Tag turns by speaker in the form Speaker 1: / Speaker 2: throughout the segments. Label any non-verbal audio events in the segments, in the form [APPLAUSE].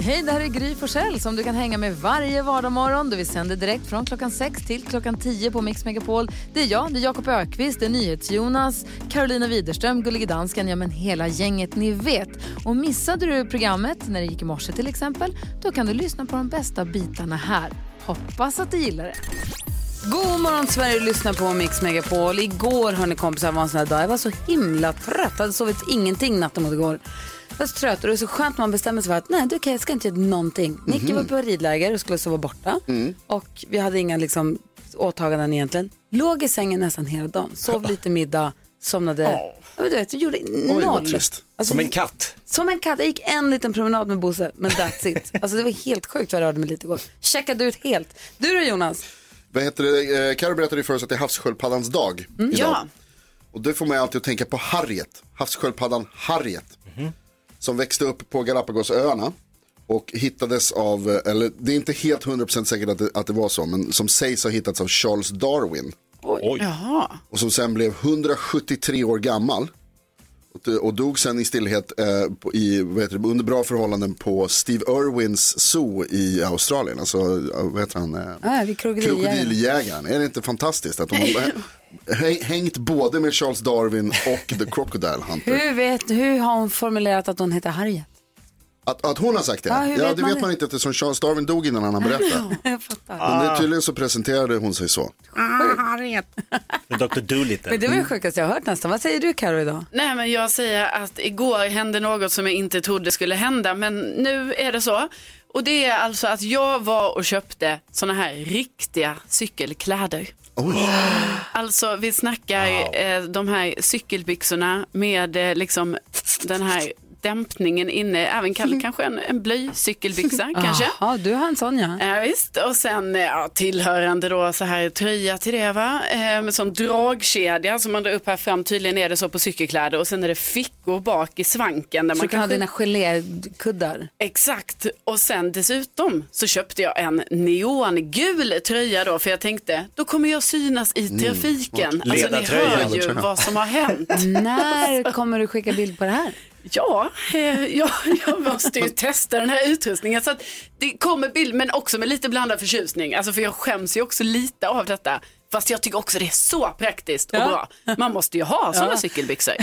Speaker 1: Hej, det här är Gry Forssell som du kan hänga med varje vardagsmorgon. Vi sänder direkt från klockan 6 till klockan 10 på Mix Megapol. Det är jag, det är Jakob Ökvist, det är NyhetsJonas, Carolina Widerström, Gullige Dansken, ja men hela gänget ni vet. Och missade du programmet när det gick i morse till exempel, då kan du lyssna på de bästa bitarna här. Hoppas att du gillar det.
Speaker 2: God morgon Sverige, du lyssnar på Mix Megapol. Igår hörni kompisar var en sån här dag. Jag var så himla trött. Jag hade sovit ingenting natten mot igår. Jag var så trött och det är så skönt när man bestämmer sig för att nej, du kan, jag ska inte göra någonting. Nicky
Speaker 3: Mhm.
Speaker 2: var på ridläger och skulle sova borta.
Speaker 3: Mm.
Speaker 2: Och vi hade inga liksom, åtaganden egentligen. Låg i sängen nästan hela dagen. Sov lite middag, somnade. Ja, men du vet, jag gjorde noll. Alltså,
Speaker 3: Som en katt.
Speaker 2: Som en katt. Jag gick en liten promenad med Bosse, men that's
Speaker 3: [LAUGHS]
Speaker 2: it. alltså, det var helt sjukt vad jag rörde mig lite igår. Checkade ut helt. Du då Jonas?
Speaker 4: Vad heter det? Eh, Karo berättade ju för oss att det är havssköldpaddans dag idag. Och det får man ju alltid att tänka på Harriet, havssköldpaddan Harriet. Som växte upp på Galapagosöarna och hittades av, eh, eller det är inte helt 100% säkert att det, att det var så, men som sägs ha hittats av Charles Darwin.
Speaker 3: Oj.
Speaker 4: Och som sen blev 173 år gammal. Och dö- Och dog sen i stillhet eh, på, i, vad heter det, under bra förhållanden på Steve Irwins zoo i Australien. Alltså, eh, vad heter han? Eh,
Speaker 2: Ah, vi krokodiljägare.
Speaker 4: Krokodiljägaren. Är det inte fantastiskt att
Speaker 2: [LAUGHS]
Speaker 4: de har häng- hängt både med Charles Darwin och The Crocodile Hunter?
Speaker 2: Hur, vet, hur har hon formulerat att hon heter Harriet?
Speaker 4: Att, att hon har sagt det?
Speaker 2: Ja, hur
Speaker 4: ja
Speaker 2: vet
Speaker 4: det
Speaker 2: man
Speaker 4: vet
Speaker 2: det? Ah.
Speaker 4: man inte eftersom Charles Darwin dog innan han hann berätta.
Speaker 2: [LAUGHS] Jag fattar.
Speaker 4: Men det, tydligen så presenterade hon sig så.
Speaker 3: Det är Dr. Dolittle.
Speaker 2: Men det var det sjukaste jag har hört nästan. Vad säger du Karo idag?
Speaker 5: Nej, men jag säger att igår hände något som jag inte trodde skulle hända, men nu är det så. Och det är alltså att jag var och köpte såna här riktiga cykelkläder.
Speaker 2: [GASPS]
Speaker 4: Oj,
Speaker 5: Alltså vi snackar eh, de här cykelbyxorna med eh, liksom den här dämpningen inne, även kall, kanske en, en blöjcykelbyxa
Speaker 2: Ah.
Speaker 5: kanske.
Speaker 2: Ja, Eh, du har en sån ja.
Speaker 5: Ja, visst, och sen eh, ja, tillhörande då så här tröja till det va. Eh, med sån dragkedja som man drar upp här fram. Tydligen är det så på cykelkläder och sen är det fickor bak i svanken. Där
Speaker 2: Så
Speaker 5: man
Speaker 2: du kan ha
Speaker 5: kanske-
Speaker 2: dina gelékuddar.
Speaker 5: Exakt, och sen dessutom så köpte jag en neongul tröja då för jag tänkte då kommer jag synas i trafiken. alltså ni
Speaker 3: Ledartröja.
Speaker 5: hör ju vad som har
Speaker 2: [LAUGHS]
Speaker 5: hänt.
Speaker 2: När kommer du skicka bild på det här?
Speaker 5: Ja, eh, [LAUGHS] jag, jag måste ju testa den här utrustningen. Så att det kommer bild, men också med lite blandad förtjusning. Alltså för jag skäms ju också lite av detta. Fast jag tycker också det är så praktiskt och bra. Man måste ju ha sådana
Speaker 4: [LAUGHS]
Speaker 5: cykelbyxor.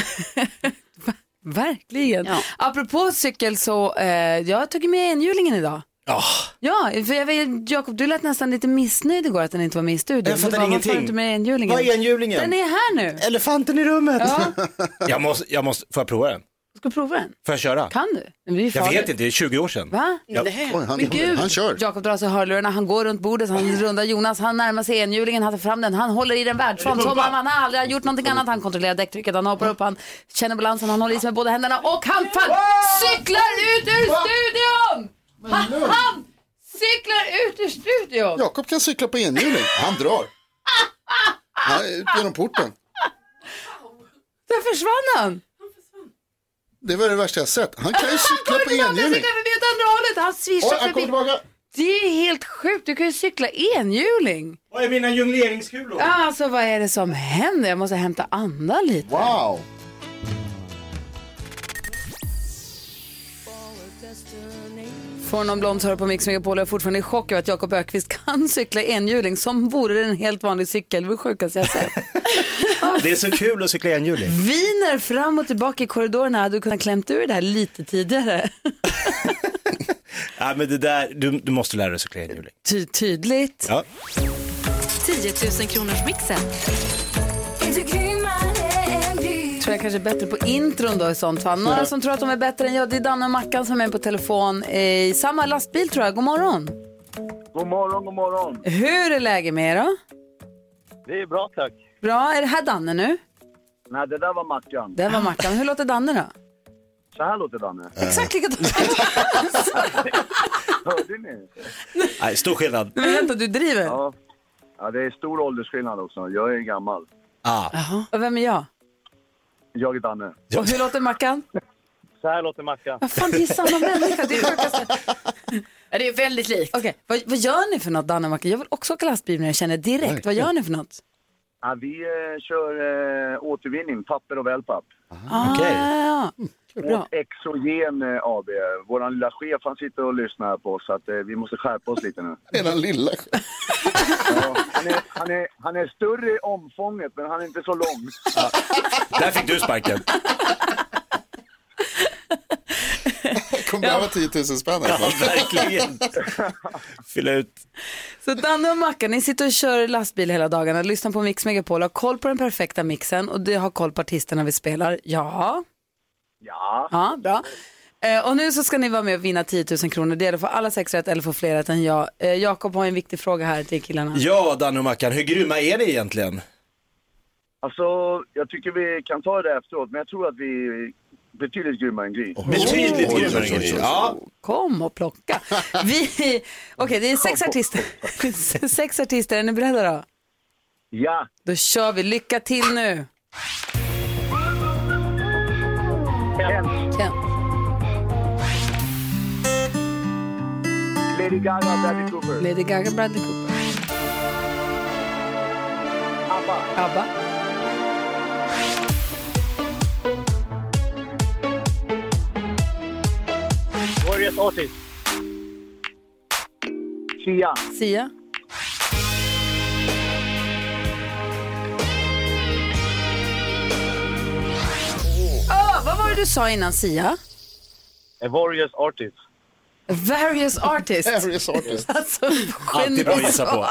Speaker 2: Verkligen.
Speaker 5: Ja.
Speaker 2: Apropå cykel så, eh, jag har tagit med enhjulingen idag.
Speaker 3: Ja,
Speaker 2: Ja, för jag vet, Jakob, du lät nästan lite missnöjd igår att den inte var med i studion.
Speaker 6: Jag fattar
Speaker 2: Du bara, Varför
Speaker 6: ingenting.
Speaker 2: har du inte med enhjulingen?
Speaker 6: Vad är enhjulingen?
Speaker 2: Den är här nu.
Speaker 6: Elefanten i rummet.
Speaker 3: [LAUGHS] jag måste, jag måste, får jag prova den?
Speaker 2: Ska du prova den?
Speaker 3: Får jag köra?
Speaker 2: Kan du? Den blir ju
Speaker 3: Jag
Speaker 2: farlig.
Speaker 3: vet inte, det är 20 år sedan.
Speaker 2: Va?
Speaker 5: Nej,
Speaker 4: oj han,
Speaker 5: men gud.
Speaker 4: han kör.
Speaker 2: Jakob drar sig hörlurarna, han går runt bordet, han rundar Jonas, han närmar sig enhjulingen, han tar fram den, han håller i den världsfram som om han aldrig har gjort någonting annat. Han kontrollerar däcktrycket, han hoppar upp, han känner balansen, han håller i sig med båda händerna och han fan cyklar ut ur studion! Han, han cyklar ut ur studion!
Speaker 4: Jakob kan cykla på enhjuling. Han drar. Han är ut genom porten.
Speaker 2: Där försvann han!
Speaker 4: Det var det värsta jag sett. Han kan ju cykla på
Speaker 2: Han cyklar
Speaker 4: enhjuling.
Speaker 2: förbi åt andra hållet, han
Speaker 4: Oj,
Speaker 2: svischar
Speaker 4: han kommer
Speaker 2: förbi.
Speaker 4: tillbaka.
Speaker 2: Det är helt sjukt, du kan ju cykla enhjuling.
Speaker 3: Vad är mina jongleringskulor?
Speaker 2: Alltså vad är det som händer? Jag måste hämta andan lite.
Speaker 4: Wow.
Speaker 2: Får någon blond hör på Mix Megapol. Jag är fortfarande i chock över att Jakob Ökvist kan [LAUGHS] cykla enhjuling som vore det en helt vanlig cykel. Det var det sjukaste jag [LAUGHS] sett.
Speaker 6: Det är så kul att cykla enhjuling.
Speaker 2: Viner fram och tillbaka i korridorerna. Hade du kunnat klämt ur det här lite tidigare?
Speaker 3: Ja, men det där, du, du måste lära dig cykla enhjuling.
Speaker 2: [LAUGHS] Ty- tydligt.
Speaker 3: Ja.
Speaker 7: 10 000 kronors mixen.
Speaker 2: Tror jag kanske är bättre på intron då i sånt fall. Några som tror att de är bättre än jag. Det är Danne och Mackan som är med på telefon i samma lastbil tror jag. God morgon.
Speaker 8: God morgon, god morgon.
Speaker 2: Hur är läget med er då?
Speaker 8: Det är bra tack.
Speaker 2: Bra. Är det här Danne nu?
Speaker 8: Nej, det där var Mackan.
Speaker 2: Det var Mackan. Hur låter Danne då?
Speaker 8: Så här låter Danne.
Speaker 2: Exakt likadant.
Speaker 8: [LAUGHS] Hörde ni?
Speaker 3: Nej, stor skillnad.
Speaker 2: Men vänta, du driver.
Speaker 8: Ja. ja, det är stor åldersskillnad också. Jag är gammal.
Speaker 3: Ah.
Speaker 2: Och vem är jag?
Speaker 8: Jag är Danne.
Speaker 2: Och hur låter Mackan?
Speaker 8: Så här låter Mackan.
Speaker 2: Vad fan, det är samma människa. [LAUGHS] Det är sjukaste.
Speaker 5: Ja, det är väldigt likt.
Speaker 2: Okej, vad, vad gör ni för något, Danne och Mackan? Jag vill också åka lastbil men jag känner direkt. Vad gör ni för något?
Speaker 8: Ja, vi eh, kör eh, återvinning, papper och wellpapp.
Speaker 2: Ah,
Speaker 3: Okej.
Speaker 2: ja, ja. Bra.
Speaker 8: Åt Exogen eh, AB. Vår lilla chef han sitter och lyssnar på oss så att, eh, vi måste skärpa oss lite nu.
Speaker 4: Det är den lilla.
Speaker 8: Ja, han, är, han, är, han är större i omfånget men han är inte så lång.
Speaker 3: Där fick du sparken.
Speaker 4: Jag kommer behöva 10 000 spänn.
Speaker 3: Ja, verkligen. Fylla ut.
Speaker 2: Så Danne och Mackan, ni sitter och kör lastbil hela dagarna, lyssnar på Mix Megapol, har koll på den perfekta mixen och det har koll på artisterna vi spelar. Ja,
Speaker 8: Ja,
Speaker 2: ja bra. Eh, och nu så ska ni vara med och vinna 10 000 kronor. Det gäller för alla sex rätt eller för fler rätt än jag. Eh, Jakob har en viktig fråga här till killarna.
Speaker 3: Ja, Danne och Mackan, hur grymma är ni egentligen?
Speaker 8: alltså jag tycker vi kan ta det efteråt men jag tror att vi är betydligt grymmare än Gry.
Speaker 3: Betydligt
Speaker 4: Oj,
Speaker 3: grymmare
Speaker 4: oj,
Speaker 3: än
Speaker 4: oj,
Speaker 3: Gry.
Speaker 4: oj.
Speaker 3: Ja,
Speaker 2: Kom och plocka. Vi... Okej, det är sex artister. [LAUGHS] sex artister, är ni beredda då?
Speaker 8: Ja,
Speaker 2: Då kör vi. Lycka till nu.
Speaker 8: en.
Speaker 2: Ken.
Speaker 8: Lady Gaga, Bradley Cooper,
Speaker 2: Lady Gaga, Bradley Cooper,
Speaker 8: ABBA,
Speaker 2: ABBA,
Speaker 8: Warriors Otis. Sia,
Speaker 2: Sia, Åh, vad var det du sa innan Sia?
Speaker 8: Warriors Artist.
Speaker 2: Various artists.
Speaker 4: Various
Speaker 2: [LAUGHS]
Speaker 4: artist.
Speaker 2: Alltså,
Speaker 3: alltid bra att gissa på.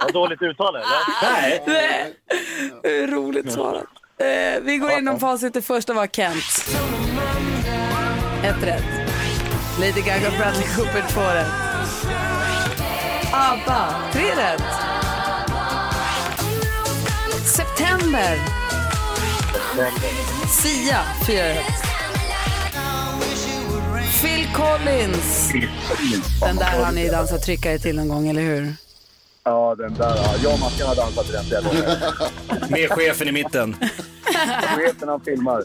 Speaker 8: Vad dåligt uttal eller?
Speaker 3: Nej,
Speaker 2: [LAUGHS] hur roligt svarat. Eh, vi går igenom facit. Det första var Kent. Ett rätt. Lady Gaga och Bradley Cooper, två rätt. ABBA, tre rätt. September. Sia, fyra rätt. Phil Collins. Den där har ni dansat tryckare till någon gång, eller hur?
Speaker 8: Ja, den där. Ja. Jag och Mackan har dansat till den flera gånger.
Speaker 3: med chefen i mitten.
Speaker 8: Chefen han filmar.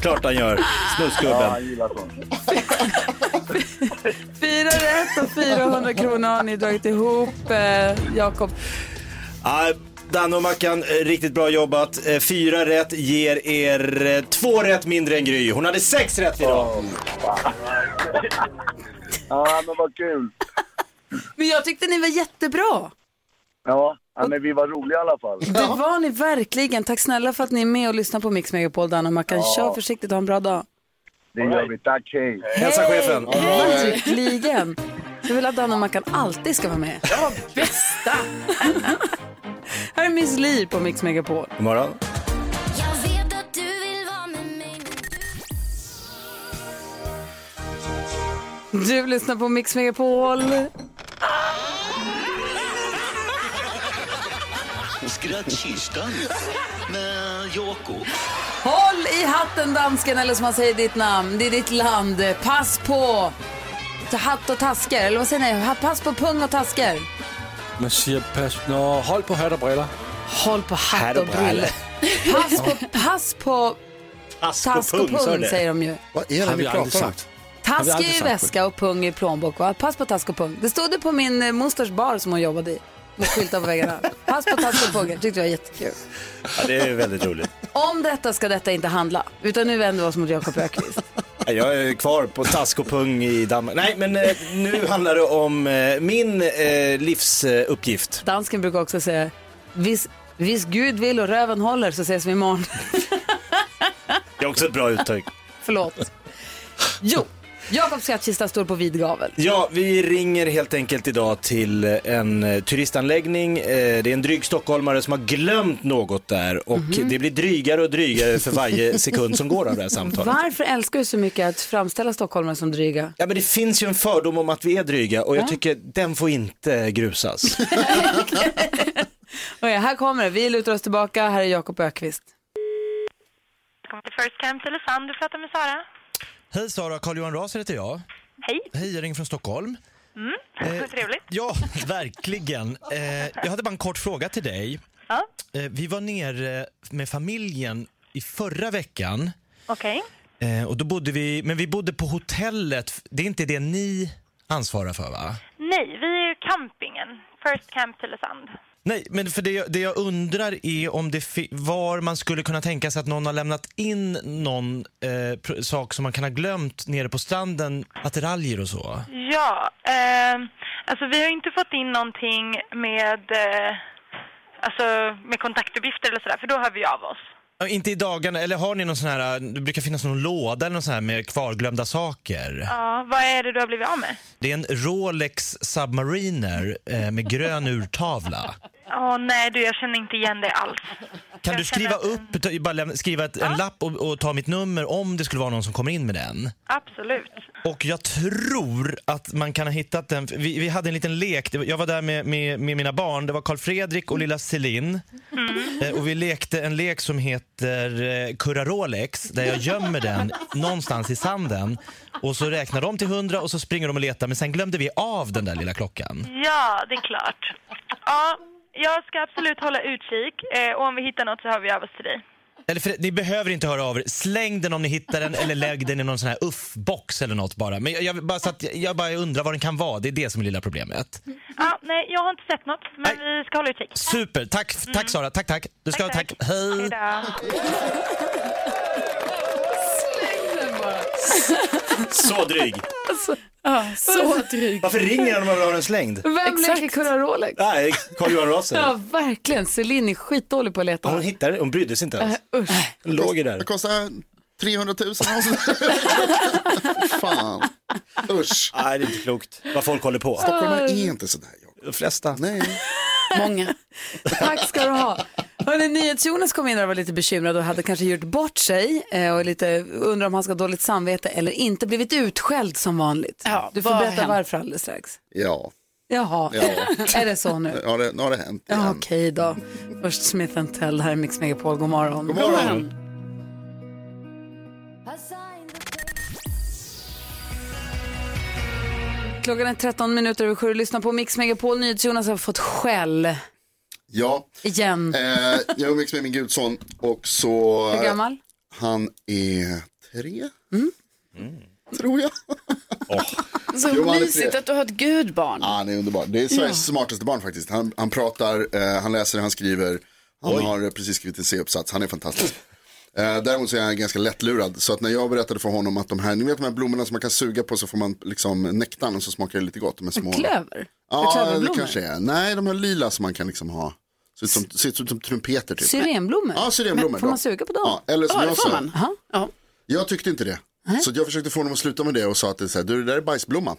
Speaker 3: Klart han gör.
Speaker 8: Ja,
Speaker 3: Snuskgubben.
Speaker 8: han gillar sånt.
Speaker 2: Fyra rätt och 400 kronor har ni dragit ihop, eh, Jakob.
Speaker 3: Ja, Danne och Mackan, eh, riktigt bra jobbat. Eh, Fyra rätt ger er eh, två rätt mindre än Gry. Hon hade sex rätt idag.
Speaker 8: Ja, men vad kul.
Speaker 2: Men jag tyckte ni var jättebra.
Speaker 8: Ja, ja, men vi var roliga i alla fall.
Speaker 2: Det var ni verkligen. Tack snälla för att ni är med och lyssnar på Mix Megapol, Dan och Mackan. Kör försiktigt och ha en bra dag.
Speaker 8: Det gör vi. Tack, hej.
Speaker 3: Hälsa chefen.
Speaker 2: Verkligen. Jag vill att Dan och Mackan alltid ska vara med. Ja, bästa! Här är Miss Li på Mix Megapol.
Speaker 3: God morgon.
Speaker 9: Jag vet att du vill vara med mig
Speaker 2: Du lyssnar på Mix Megapol.
Speaker 10: Skrattkistan med Jakob.
Speaker 2: Håll i hatten dansken, eller som man säger ditt namn. Det är ditt land. Pass på hatt och tasker. Eller vad säger ni? Ha- Pass på pung och tasker.
Speaker 11: Man siger, pas, nå, hold på hat og briller.
Speaker 2: Håll på hatt
Speaker 3: Här
Speaker 2: och
Speaker 3: och brall.
Speaker 2: brille. Pass på, pass på
Speaker 3: Task
Speaker 2: task och
Speaker 3: sa du
Speaker 2: pung
Speaker 3: det?
Speaker 2: säger de ju.
Speaker 4: Vad är det
Speaker 11: Har
Speaker 4: ni
Speaker 11: vi aldrig
Speaker 4: pratar om?
Speaker 11: sagt.
Speaker 2: Task
Speaker 11: vi aldrig
Speaker 2: är i
Speaker 11: sagt
Speaker 2: väska och pung i plånbok. Va? Pass på task och pung. Det stod det på min eh, mosters bar som hon jobbade i. Med skyltar på väggarna. Pass på task och pung. Det tyckte jag var jättekul.
Speaker 3: Ja, det är väldigt roligt.
Speaker 2: Om detta ska detta inte handla. Utan nu vänder vi oss mot Jakob Ökvist.
Speaker 3: Ja, Jag är kvar på task och pung i Danmark. Nej, men eh, nu handlar det om eh, min eh, livsuppgift.
Speaker 2: Dansken brukar också säga, Vis vis Gud vill och röven håller så ses vi imorgon. [LAUGHS]
Speaker 3: Det är också ett bra uttryck.
Speaker 2: Förlåt. Jo, Jakobs skattkista står på vid gavel.
Speaker 3: Ja, vi ringer helt enkelt idag till en eh, turistanläggning. Eh, Det är en dryg stockholmare som har glömt något där och
Speaker 11: Mhm.
Speaker 3: det blir drygare och drygare
Speaker 11: [LAUGHS]
Speaker 3: för varje sekund som går av det här samtalet.
Speaker 2: Varför älskar du så mycket att framställa stockholmare som dryga?
Speaker 3: Ja, men det finns ju en fördom om att vi är dryga och jag tycker den får
Speaker 11: [LAUGHS]
Speaker 3: inte grusas.
Speaker 2: Okej, här kommer det. Vi lutar oss tillbaka. Här är Jakob Ökvist.
Speaker 9: Välkommen till First Camp Tylösand, du pratar med Sara.
Speaker 11: Hej Sara, Carl-Johan Ras heter jag.
Speaker 9: Hej,
Speaker 11: Hej, jag ringer från Stockholm.
Speaker 9: vad trevligt.
Speaker 11: Ja, [LAUGHS] verkligen. Eh, jag hade bara en kort fråga till dig.
Speaker 9: Ja,
Speaker 11: Eh, vi var nere med familjen i förra veckan
Speaker 9: okej.
Speaker 11: eh, och då bodde vi, men vi bodde på hotellet. Det är inte det ni ansvarar för va?
Speaker 9: Nej, vi är ju campingen. First Camp Tylösand.
Speaker 3: Nej, men för det, jag- det jag undrar är om det fi- var man skulle kunna tänka sig att någon har lämnat in någon eh, pr- sak som man kan ha glömt nere på stranden, attiraljer och så.
Speaker 9: Ja, eh, alltså vi har inte fått in någonting med, eh, alltså, med kontaktuppgifter eller sådär, för då hör vi av oss.
Speaker 3: Ja, Inte i dagarna, eller har ni någon sån här, det brukar finnas någon låda eller någon sån här med kvarglömda saker.
Speaker 9: Ja, vad är det du har blivit av med?
Speaker 3: Det är en Rolex Submariner eh, med grön urtavla.
Speaker 9: Ja, nej du, jag känner inte igen dig alls.
Speaker 3: Kan du skriva upp, ta- bara lämna- skriva ett, en lapp och, och ta mitt nummer om det skulle vara någon som kommer in med den?
Speaker 9: Absolut.
Speaker 3: Och jag tror att man kan ha hittat den. Vi, vi hade en liten lek. Det var- Jag var där med, med, med mina barn. Det var Carl Fredrik och lilla Celine. Eh, Och vi lekte en lek som heter eh, Kurra Rolex där jag gömmer den någonstans i sanden. Och så räknar de till hundra och så springer de och letar men sen glömde vi av den där lilla klockan.
Speaker 9: Ja, det är klart. Ja, jag ska absolut hålla utkik eh, och om vi hittar något så hör vi av oss till dig.
Speaker 3: Eller för, ni behöver inte höra av er. Släng den om ni hittar den eller lägg den i någon sån här uff-box eller något bara. Men jag, jag, bara, så att, jag bara undrar vad den kan vara. Det är det som är lilla problemet.
Speaker 9: Ja, nej, jag har inte sett något, men vi ska hålla utkik.
Speaker 3: Super! Tack, tack Sara. Tack, tack. Du ska ha tack.
Speaker 9: Hej
Speaker 3: Hej.
Speaker 12: Så dryg.
Speaker 2: Alltså,
Speaker 5: så dryg.
Speaker 12: Varför ringer han om man vill ha den slängd?
Speaker 2: Vem leker Kurra Rolex?
Speaker 12: Nej, Carl-Johan Raser.
Speaker 2: Ja, verkligen. Celine är skitdålig på att leta.
Speaker 12: Hon hittade hon brydde sig inte ens. Hon låg ju där.
Speaker 4: Det kostar 300 000 och sådär. Fan. Usch.
Speaker 12: Nej, det är inte klokt vad folk håller på.
Speaker 4: Stockholmare är inte sådär.
Speaker 12: De flesta.
Speaker 4: Nej.
Speaker 2: Många. Tack ska du ha. Hörrni, NyhetsJonas kom in och var lite bekymrad och hade kanske gjort bort sig eh, och lite undrar om han ska ha dåligt samvete eller inte blivit utskälld som vanligt.
Speaker 5: Ja,
Speaker 2: du får
Speaker 5: vad har
Speaker 2: berätta
Speaker 5: hänt?
Speaker 2: varför alldeles strax.
Speaker 4: Ja,
Speaker 2: Jaha,
Speaker 4: Ja.
Speaker 2: [LAUGHS] är det så nu?
Speaker 4: nu har det, nu har det hänt.
Speaker 2: Ja, okej då. Först Smith Tell, här är Mix Megapol. God morgon.
Speaker 4: God morgon.
Speaker 2: Klockan är 13 minuter över sju. Lyssna på Mix Megapol. NyhetsJonas har fått skäll.
Speaker 4: Ja.
Speaker 2: Igen.
Speaker 4: Eh, jag umgicks med min gudson och så...
Speaker 2: Hur gammal?
Speaker 4: Han är tre,
Speaker 2: Mm.
Speaker 4: Mm. tror jag.
Speaker 5: Så
Speaker 4: Jo, han är
Speaker 5: mysigt
Speaker 4: tre.
Speaker 5: att du har ett gudbarn.
Speaker 4: Ja, han är underbar. Det är Sveriges smartaste barn faktiskt. Han, han pratar, eh, han läser, han skriver. Han har eh, precis skrivit en C-uppsats. Han är fantastisk. Eh, däremot så är han ganska lättlurad. Så att när jag berättade för honom att de här, ni vet de här blommorna som man kan suga på så får man liksom nektarn och så smakar det lite gott. De är små.
Speaker 2: Klöver?
Speaker 4: Ja, det
Speaker 2: Klöverblommor?
Speaker 4: kanske är. Nej, de här lila som man kan liksom ha. Ser ut som, ser ut som trumpeter typ.
Speaker 2: Syrenblommor?
Speaker 4: Ja, syrenblommor.
Speaker 2: Får man
Speaker 4: då.
Speaker 2: suga på dem?
Speaker 4: Ja, eller som
Speaker 5: Ja, det
Speaker 4: jag
Speaker 5: får
Speaker 4: sa,
Speaker 5: man. Ja.
Speaker 4: jag tyckte inte det. Så att jag försökte få honom att sluta med det och sa att det, är så här, du, det där är bajsblomma.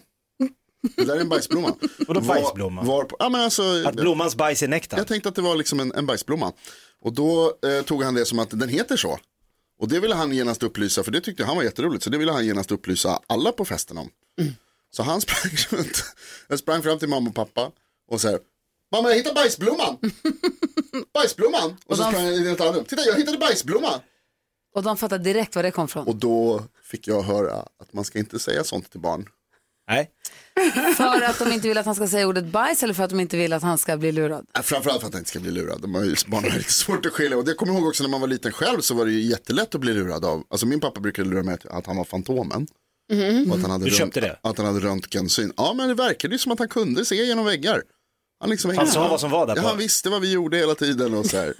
Speaker 4: Det där är en bajsblomma.
Speaker 12: [LAUGHS] Vadå bajsblomma?
Speaker 4: Var, var på, ja, men alltså,
Speaker 12: Att blommans bajs är nektar.
Speaker 4: jag tänkte att det var liksom en, en bajsblomma. Och då eh, tog han det som att den heter så. Och det ville han genast upplysa, för det tyckte han var jätteroligt, så det ville han genast upplysa alla på festen om. Så han [LAUGHS] sprang runt, jag sprang fram till mamma och pappa och så här, mamma jag hittade bajsblomman. bajsblomman. Och, så sprang jag in i ett annat rum, titta jag hittade bajsblomman.
Speaker 2: Och de fattar direkt var det kom från.
Speaker 4: Och då fick jag höra att man ska inte säga sånt till barn.
Speaker 12: Nej.
Speaker 2: För att de inte vill att han ska säga ordet bajs eller för att de inte vill att han ska bli lurad.
Speaker 4: Ja, Äh, Framförallt för att han inte ska bli lurad. De har ju, barn har lite svårt att skilja. Och det kommer jag ihåg också när man var liten själv så var det ju jättelätt att bli lurad av. Alltså min pappa brukade lura mig att- att han var Fantomen. Och att han hade
Speaker 12: Du köpte det?
Speaker 4: Att han hade röntgensyn. Ja men det verkade ju som att han kunde se genom väggar. Han, liksom
Speaker 12: Han
Speaker 4: hängde-
Speaker 12: sa vad som var där
Speaker 4: Ja,
Speaker 12: på.
Speaker 4: han visste vad vi gjorde hela tiden och så här.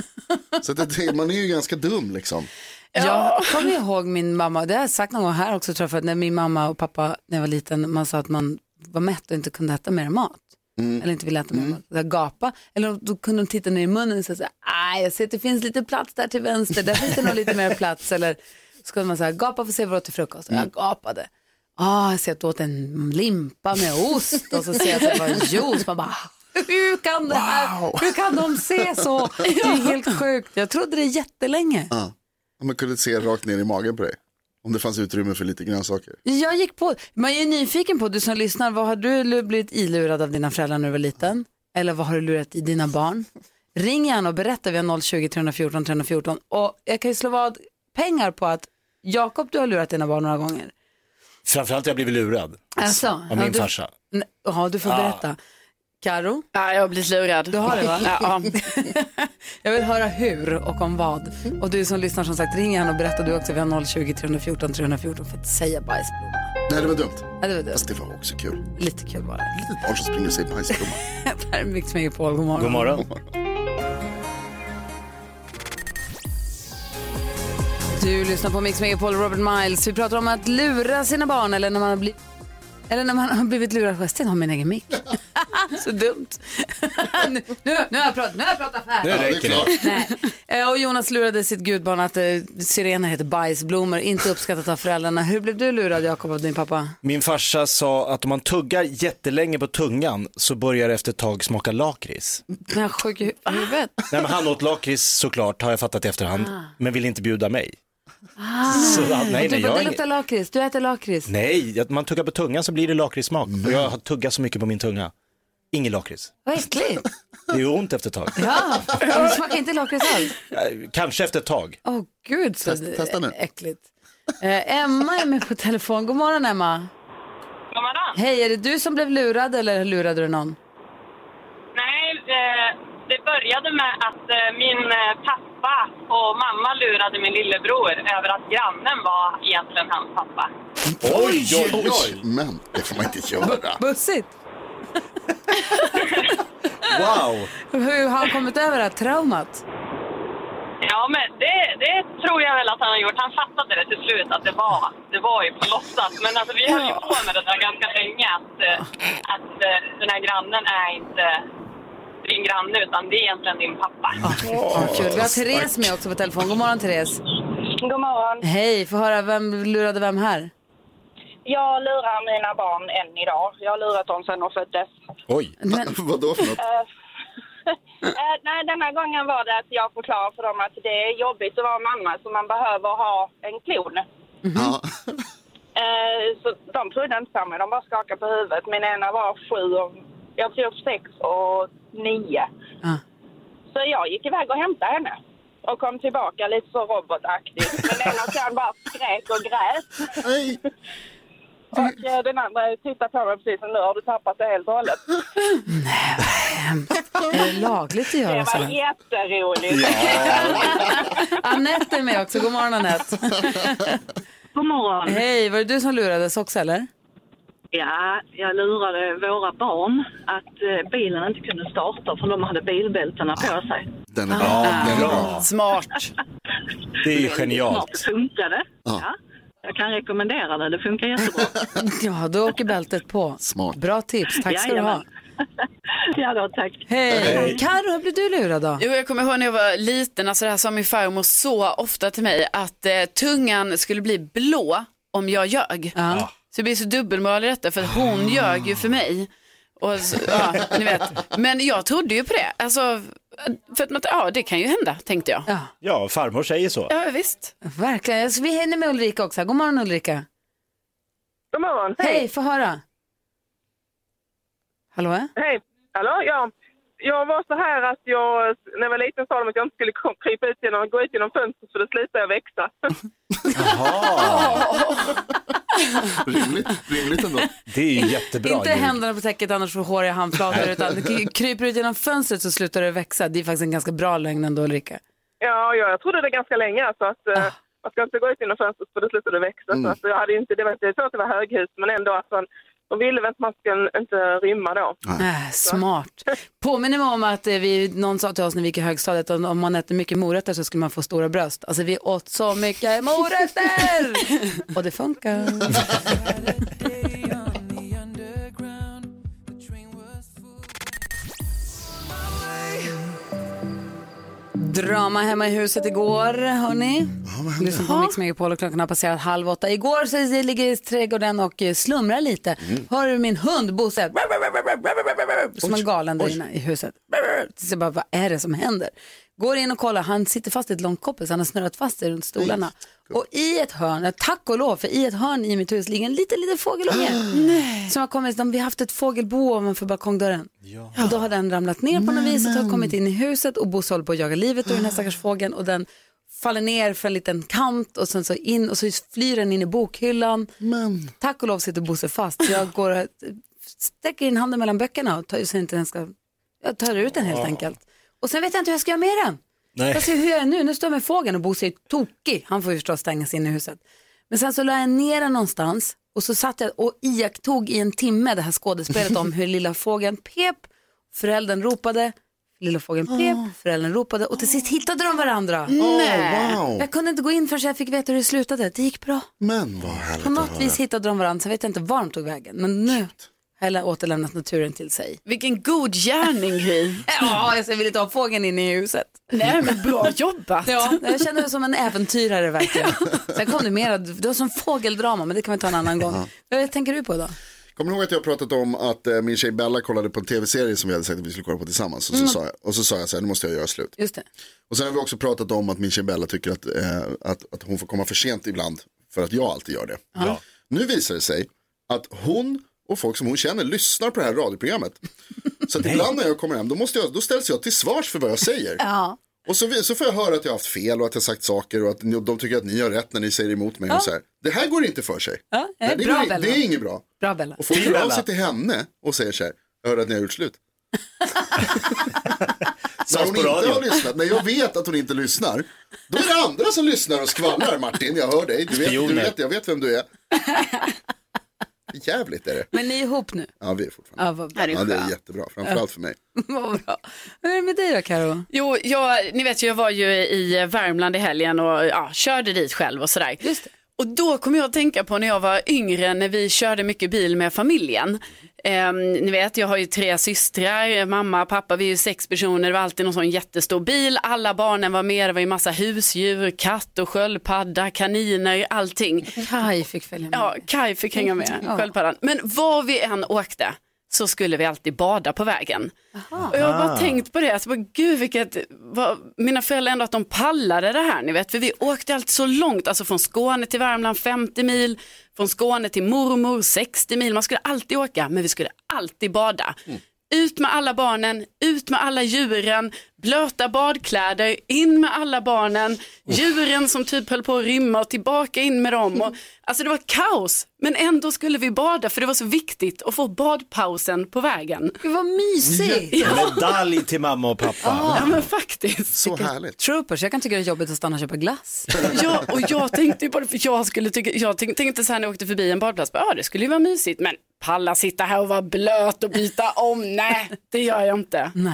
Speaker 4: så att det, man är ju ganska dum liksom.
Speaker 2: Jag kommer ihåg min mamma, det har jag sagt någon gång här också tror jag, för att när min mamma och pappa när jag var liten, man sa att man var mätt och inte kunde äta mer mat. Eller inte ville äta mer mat, Så här, gapa. Eller då kunde de titta ner i munnen och säga så här, "Aj, jag ser att det finns lite plats där till vänster, där finns det nog lite mer plats. Eller så kunde man säga gapa för att se vad du åt till frukost. Och jag gapade. Ah, jag ser att du åt en limpa med ost och så ser jag att det var juice. Man bara, hur kan det här, hur kan de se så? Det är helt sjukt. Jag trodde det jättelänge.
Speaker 4: Om man kunde se rakt ner i magen på dig. Om det fanns utrymme för lite grönsaker.
Speaker 2: Jag gick på, man är nyfiken på, du som lyssnar, vad har du lu- blivit ilurad av dina föräldrar när du var liten? Eller vad har du lurat i dina barn? Ring gärna och berätta, vi har 020 314 314. Och jag kan ju slå vad pengar på att Jakob, du har lurat dina barn några gånger.
Speaker 12: Framförallt har jag blivit lurad.
Speaker 2: Alltså,
Speaker 12: Av min farsa.
Speaker 2: Ja, du får berätta. Karo?
Speaker 5: Ja, jag har blivit lurad.
Speaker 2: Du har det [LAUGHS] va?
Speaker 5: Ja.
Speaker 2: [LAUGHS] jag vill höra hur och om vad. Och du som lyssnar som sagt, ring gärna och berätta du också. Vi har 020 314 314 för att säga bajsblomma.
Speaker 4: Nej, det var dumt.
Speaker 2: Ja, det var dumt.
Speaker 4: Fast det var också kul.
Speaker 2: Lite kul var det.
Speaker 4: Litet barn som springer och säger bajsblomma.
Speaker 2: Det här är Mix Megapol, god morgon.
Speaker 4: God morgon.
Speaker 2: Du lyssnar på Mix Megapol och Robert Miles. Vi pratar om att lura sina barn eller när man har blivit eller när man har blivit lurad. Jag stänger av min egen mick.
Speaker 3: [LAUGHS]
Speaker 2: Så dumt. [LAUGHS] nu, nu, nu har jag pratat, nu har jag pratat
Speaker 10: Nu
Speaker 2: färdigt.
Speaker 10: räcker det.
Speaker 2: Nej. Eh, Och Jonas lurade sitt gudbarn att eh, sirener heter bajsblommor, inte uppskattat av föräldrarna. Hur blev du lurad Jakob av din pappa?
Speaker 3: Min farsa sa att om man tuggar jättelänge på tungan så börjar det efter ett tag smaka lakrits.
Speaker 2: Den här sjuk i huvudet.
Speaker 3: Ah. Nej, men han åt lakrits såklart, har jag fattat i efterhand,
Speaker 2: Ah.
Speaker 3: men ville inte bjuda mig.
Speaker 2: Ah.
Speaker 3: Så, nej, nej,
Speaker 2: Och du
Speaker 3: jag
Speaker 2: bara,
Speaker 3: har
Speaker 2: det
Speaker 3: ingen-
Speaker 2: luktar lakrits, du äter lakrits.
Speaker 3: Nej, att man tuggar på tungan så blir det lakritssmak. Och jag har tuggat så mycket på min tunga. Ingen lakrits.
Speaker 2: Vad äckligt.
Speaker 3: Det gör ont efter ett tag. [LAUGHS]
Speaker 2: Ja, det smakar inte lakrits alls.
Speaker 3: Eh, Kanske efter ett tag.
Speaker 2: Åh gud så
Speaker 3: Testa- testa nu.
Speaker 2: äckligt. Eh, Emma är med på telefon. God morgon Emma.
Speaker 13: God morgon.
Speaker 2: Hej, är det du som blev lurad eller lurade du någon?
Speaker 13: Nej, eh, det började med att eh, min eh, pappa och mamma lurade min lillebror över att grannen var egentligen hans pappa.
Speaker 4: Oj, oj, oj. Men det får man inte göra.
Speaker 2: Bussigt.
Speaker 3: Wow.
Speaker 2: Hur har han kommit över det här traumat?
Speaker 13: Ja, men det, det tror jag väl att han har gjort. Han fattade det till slut att det var, det var ju på låtsas. Men alltså, vi höll ju på med det där ganska länge att, eh, att eh, den här grannen är inte din granne utan det är egentligen din pappa.
Speaker 2: Vad kul. Vi har Therese med också på telefon. God morgon Therese.
Speaker 14: Mm, God morgon.
Speaker 2: Hej, få höra vem lurade vem här?
Speaker 14: Jag lurar mina barn än idag. Jag har lurat dem sedan de föddes.
Speaker 3: Oj.
Speaker 4: Men... Vad då för något?
Speaker 14: Eh, [LAUGHS] eh, nej, den här gången var det att jag förklarade för dem att det är jobbigt att vara mamma så man behöver ha en klon.
Speaker 4: Mm.
Speaker 14: Eh, så de trodde inte på mig, de bara skakade på huvudet. Min ena var sju och jag tror sex och nio.
Speaker 2: Ah.
Speaker 14: Så jag gick iväg och hämtade henne och kom tillbaka lite så robotaktigt. Den ena sen bara skrek och grät. [LAUGHS] Och eh, den andra tittade på mig precis som nu har du tappat det helt och hållet.
Speaker 2: Är det lagligt att
Speaker 14: Det
Speaker 2: göra så
Speaker 14: var
Speaker 2: här?
Speaker 14: jätteroligt.
Speaker 2: Anette är med också. God morgon Anette.
Speaker 15: God morgon.
Speaker 2: Hej, var det du som lurades också eller?
Speaker 15: Ja, jag lurade våra barn att eh, bilen inte kunde starta för de hade bilbältena på sig.
Speaker 4: Den är bra. Den är bra.
Speaker 5: Smart.
Speaker 3: Det är ju
Speaker 15: Snart
Speaker 3: genialt.
Speaker 15: funkar det.
Speaker 4: Ja.
Speaker 15: Ja. Jag kan rekommendera det, det funkar jättebra.
Speaker 2: Ja, då åker bältet på. Smart. Bra tips, tack ska du ha.
Speaker 15: Ja, då, tack.
Speaker 2: Hej. Karo, hur blev du lurad då?
Speaker 5: Jo, jag kommer ihåg när jag var liten, alltså det här sa min farmor så ofta till mig, att eh, tungan skulle bli blå om jag ljög. Så det blir så dubbelmoral i detta, för att hon ljög ju för mig. Och så, ja, ni vet. Men jag trodde ju på det, alltså, för att man, ja, det kan ju hända, tänkte jag. Ja,
Speaker 3: Ja, farmor säger så.
Speaker 5: visst.
Speaker 2: Verkligen. Alltså, vi hinner med Ulrika också. God morgon Ulrika.
Speaker 16: God morgon.
Speaker 2: Hej, få höra. Hallå? ja?
Speaker 16: Hej. Hallå, ja. Jag var så här att jag, när jag var liten sa de att jag inte skulle kom- krypa ut genom, gå ut genom fönstret för då slutade jag växa. [LAUGHS]
Speaker 4: Rimligt, rimligt [LAUGHS] ändå.
Speaker 3: Det är ju jättebra.
Speaker 2: Inte händerna på täcket annars får hår i handflator utan k- kryper ut genom fönstret så slutar det växa. Det är faktiskt en ganska bra lögn ändå Ulrika.
Speaker 16: Ja, ja jag trodde det ganska länge alltså att eh, man ska inte gå ut genom fönstret för då slutar det växa.
Speaker 2: Mm.
Speaker 16: Så att jag hade ju inte, det var inte så att det var höghus men ändå att man, de ville väl att man skulle inte rymma då.
Speaker 2: Äh, smart. Påminner mig om att eh, vi, någon sa till oss när vi gick i högstadiet att om man äter mycket morötter så skulle man få stora bröst. Alltså vi åt så mycket morötter! Och det funkar. Drama hemma i huset igår, hörni. Lyssna på Mix Megapol och klockan har passerat halv åtta. Igår så ligger trädgården och eh, slumrar lite. Hör du min hund Bosse? Som en galen där inne i huset. Så jag bara, vad är det som händer? Går in och kollar, han sitter fast i ett långt koppel så han har snurrat fast sig runt stolarna. Och i ett hörn, eh, tack och lov, för i ett hörn i mitt hus ligger en liten, liten fågelunge. Som har kommit, de, vi har haft ett fågelbo ovanför balkongdörren. Och då har den ramlat ner på något vis och har kommit in i huset och Bosse håller på att jaga livet ur den här stackars fågeln och den faller ner för en liten kant och sen så in och så flyr den in i bokhyllan. Tack och lov sitter Bosse fast. Så jag går och sträcker in handen mellan böckerna och tar, så inte den ska, jag tar ut den helt
Speaker 1: Ja.
Speaker 2: enkelt. Och sen vet jag inte hur jag ska göra med den.
Speaker 1: Nej.
Speaker 2: Jag ser hur jag är nu, nu står jag med fågeln och Bosse är tokig. Han får ju förstås stängas in i huset. Men sen så la jag ner den någonstans och så satt jag och iakttog i en timme det här skådespelet om hur lilla fågeln pep, föräldern ropade, lilla fågeln pep, föräldern ropade och till sist hittade de varandra.
Speaker 4: Ah.
Speaker 2: Ah.
Speaker 4: Nej. Oh, wow.
Speaker 2: Jag kunde inte gå in förrän jag fick veta hur det slutade. Det gick bra.
Speaker 4: Men vad härligt
Speaker 2: På
Speaker 4: att
Speaker 2: något
Speaker 4: höra.
Speaker 2: vis hittade de varandra, sen vet jag inte var de tog vägen. Men nu har jag återlämnat naturen till sig. [LAUGHS]
Speaker 5: Vilken god gärning, Gry.
Speaker 2: ja, jag vill inte ha fågeln inne i huset.
Speaker 5: Nej, men bra jobbat.
Speaker 2: Ja, jag känner mig som en äventyrare verkligen. Sen kom det mera, det var som fågeldrama, men det kan vi ta en annan gång. Vad tänker du på då?
Speaker 4: Kommer ni ihåg att jag pratat om att eh, min tjej Bella kollade på en tv-serie som vi hade sagt att vi skulle kolla på tillsammans. Och så,
Speaker 2: Mm.
Speaker 4: sa, jag, och så sa jag så här, nu måste jag göra slut.
Speaker 2: Just det.
Speaker 4: Och sen har vi också pratat om att min tjej Bella tycker att, eh, att, att hon får komma för sent ibland. För att jag alltid gör det.
Speaker 2: Ja.
Speaker 4: Nu visar det sig att hon och folk som hon känner lyssnar på det här radioprogrammet. Så att ibland när jag kommer hem då, måste jag, då ställs jag till svars för vad jag säger.
Speaker 2: Ja.
Speaker 4: Och så, vi- så får jag höra att jag har haft fel och att jag har sagt saker och att ni, de tycker att ni har rätt när ni säger emot mig.
Speaker 2: Ja.
Speaker 4: Och så här. Det här går inte för sig.
Speaker 2: Ja,
Speaker 4: Nej, det,
Speaker 2: Eh, bra,
Speaker 4: går, in-
Speaker 2: Bella.
Speaker 4: det är inget bra.
Speaker 2: Bra Bella.
Speaker 4: Och folk hör av sig till henne och säger så här, jag hörde att ni har
Speaker 6: [LAUGHS]
Speaker 4: gjort slut. När hon
Speaker 6: på
Speaker 4: inte
Speaker 6: radio.
Speaker 4: har lyssnat, när jag vet att hon inte lyssnar, då är det andra som lyssnar och skvallrar Martin, jag hör dig, du vet, du
Speaker 6: Spioner.
Speaker 4: vet, jag vet vem du är. Jävligt är det.
Speaker 2: Men ni är ihop nu?
Speaker 4: Ja, vi är fortfarande.
Speaker 2: Ja, vad bra.
Speaker 4: Ja, det är, jättebra, framförallt för mig.
Speaker 2: [LAUGHS] Vad bra. Hur är det med dig då Karo?
Speaker 5: Jo, jag, ni vet ju, jag var ju i Värmland i helgen och ja, körde dit själv och sådär. Och då kom jag att tänka på när jag var yngre när vi körde mycket bil med familjen. Ehm, ni vet, jag har ju tre systrar, mamma, pappa, vi är ju sex personer. Det var alltid någon sån jättestor bil. Alla barnen var med, det var ju massa husdjur, katt och sköldpadda, kaniner, allting.
Speaker 2: Kaj fick följa med.
Speaker 5: Ja, Kaj fick hänga med,
Speaker 2: Ja.
Speaker 5: sköldpaddan. Men var vi än åkte så skulle vi alltid bada på vägen. Och jag har bara
Speaker 2: Ah.
Speaker 5: tänkt på det, alltså, bara, gud vilket, vad, mina föräldrar ändå att de pallade det här, ni vet, för vi åkte alltid så långt, alltså från Skåne till Värmland 50 mil, från Skåne till mormor 60 mil, man skulle alltid åka, men vi skulle alltid bada. Ut med alla barnen, ut med alla djuren, blöta badkläder, in med alla barnen, djuren som typ höll på att rymma och tillbaka in med dem. Och, alltså det var kaos, men ändå skulle vi bada för det var så viktigt att få badpausen på vägen.
Speaker 2: Gud vad mysigt!
Speaker 3: Medalj till mamma och pappa.
Speaker 5: Ja men faktiskt.
Speaker 4: Så härligt.
Speaker 2: Troopers, jag kan tycka det är jobbigt att stanna och köpa glass.
Speaker 5: Ja, och jag tänkte ju på det, för jag, skulle tycka, jag tänkte, tänkte så här när jag åkte förbi en badplats, bara, ja det skulle ju vara mysigt, men palla sitta här och vara blöt och byta om, [LAUGHS] nej det gör jag inte.
Speaker 2: Nej.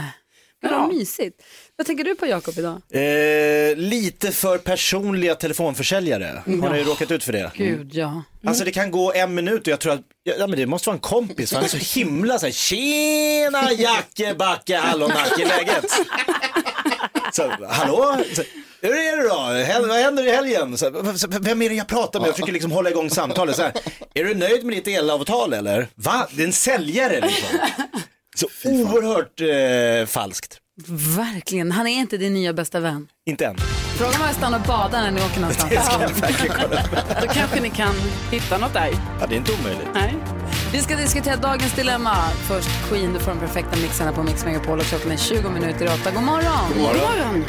Speaker 2: Gud, vad mysigt. Vad tänker du på Jakob idag?
Speaker 3: Eh, lite för personliga telefonförsäljare. Hon har ju
Speaker 2: Ja.
Speaker 3: råkat ut för det.
Speaker 2: Gud Mm. ja.
Speaker 3: Alltså det kan gå en minut och jag tror att, ja men det måste vara en kompis för han är så himla så här, tjena Jacke, Backe, Hallonacke, läget? Så, hallå? Så, hur är det då? Hel- vad händer i helgen? Så, v- så, vem är det jag pratar med? Jag försöker liksom hålla igång samtalet så här. Är du nöjd med ditt elavtal eller? Va? Det är en säljare liksom. Så oerhört eh, falskt.
Speaker 2: Verkligen, han är inte din nya bästa vän.
Speaker 3: Inte än.
Speaker 2: Fråga om jag stannar och badar när ni åker någonstans.
Speaker 3: Det ska jag verkligen kolla.
Speaker 5: Då kanske ni kan hitta något där.
Speaker 3: Ja, det är inte omöjligt.
Speaker 5: Nej.
Speaker 2: Vi ska diskutera dagens dilemma. Först Queen, du får de perfekta mixarna på Mix Megapol och klockan är 20 minuter i åtta. God morgon!
Speaker 5: God morgon. God morgon.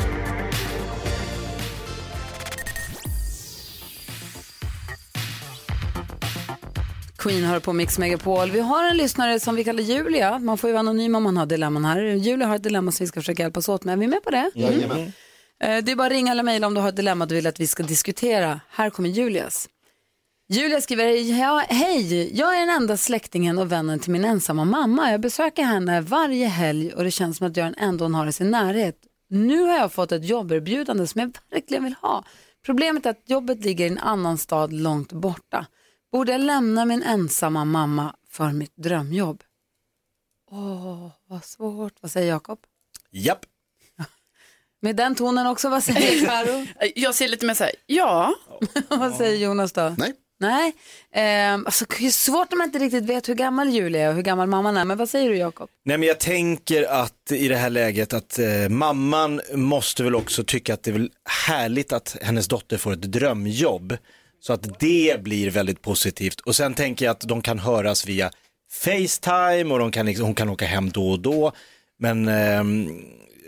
Speaker 2: Queen hör på Mix Megapol. Vi har en lyssnare som vi kallar Julia. Man får ju vara anonym om man har dilemman här. Julia har ett dilemma som vi ska försöka hjälpas åt med. Är vi med på det?
Speaker 4: Jajamän.
Speaker 2: Eh, Det är bara att ringa eller mejla om du har ett dilemma du vill att vi ska diskutera. Här kommer Julias. Julia skriver, "Ja, hej, jag är den enda släktingen och vännen till min ensamma mamma. Jag besöker henne varje helg och det känns som att jag ändå har i sin närhet. Nu har jag fått ett jobberbjudande som jag verkligen vill ha. Problemet är att jobbet ligger i en annan stad långt borta. Borde jag lämna min ensamma mamma för mitt drömjobb? Åh, vad svårt. Vad säger Jakob?
Speaker 3: Japp.
Speaker 2: Med den tonen också, vad säger Karo?
Speaker 5: Jag säger lite mer så här, ja.
Speaker 2: vad säger Jonas då?
Speaker 4: Nej.
Speaker 2: Nej. Ehm, alltså, det är svårt om man inte riktigt vet hur gammal Julia är och hur gammal mamman är. Men vad säger du Jakob?
Speaker 3: Nej men jag tänker att i det här läget att eh, mamman måste väl också tycka att det är väl härligt att hennes dotter får ett drömjobb. Så att det blir väldigt positivt. Och sen tänker jag att de kan höras via Facetime och de kan liksom, hon kan åka hem då och då. Men ehm,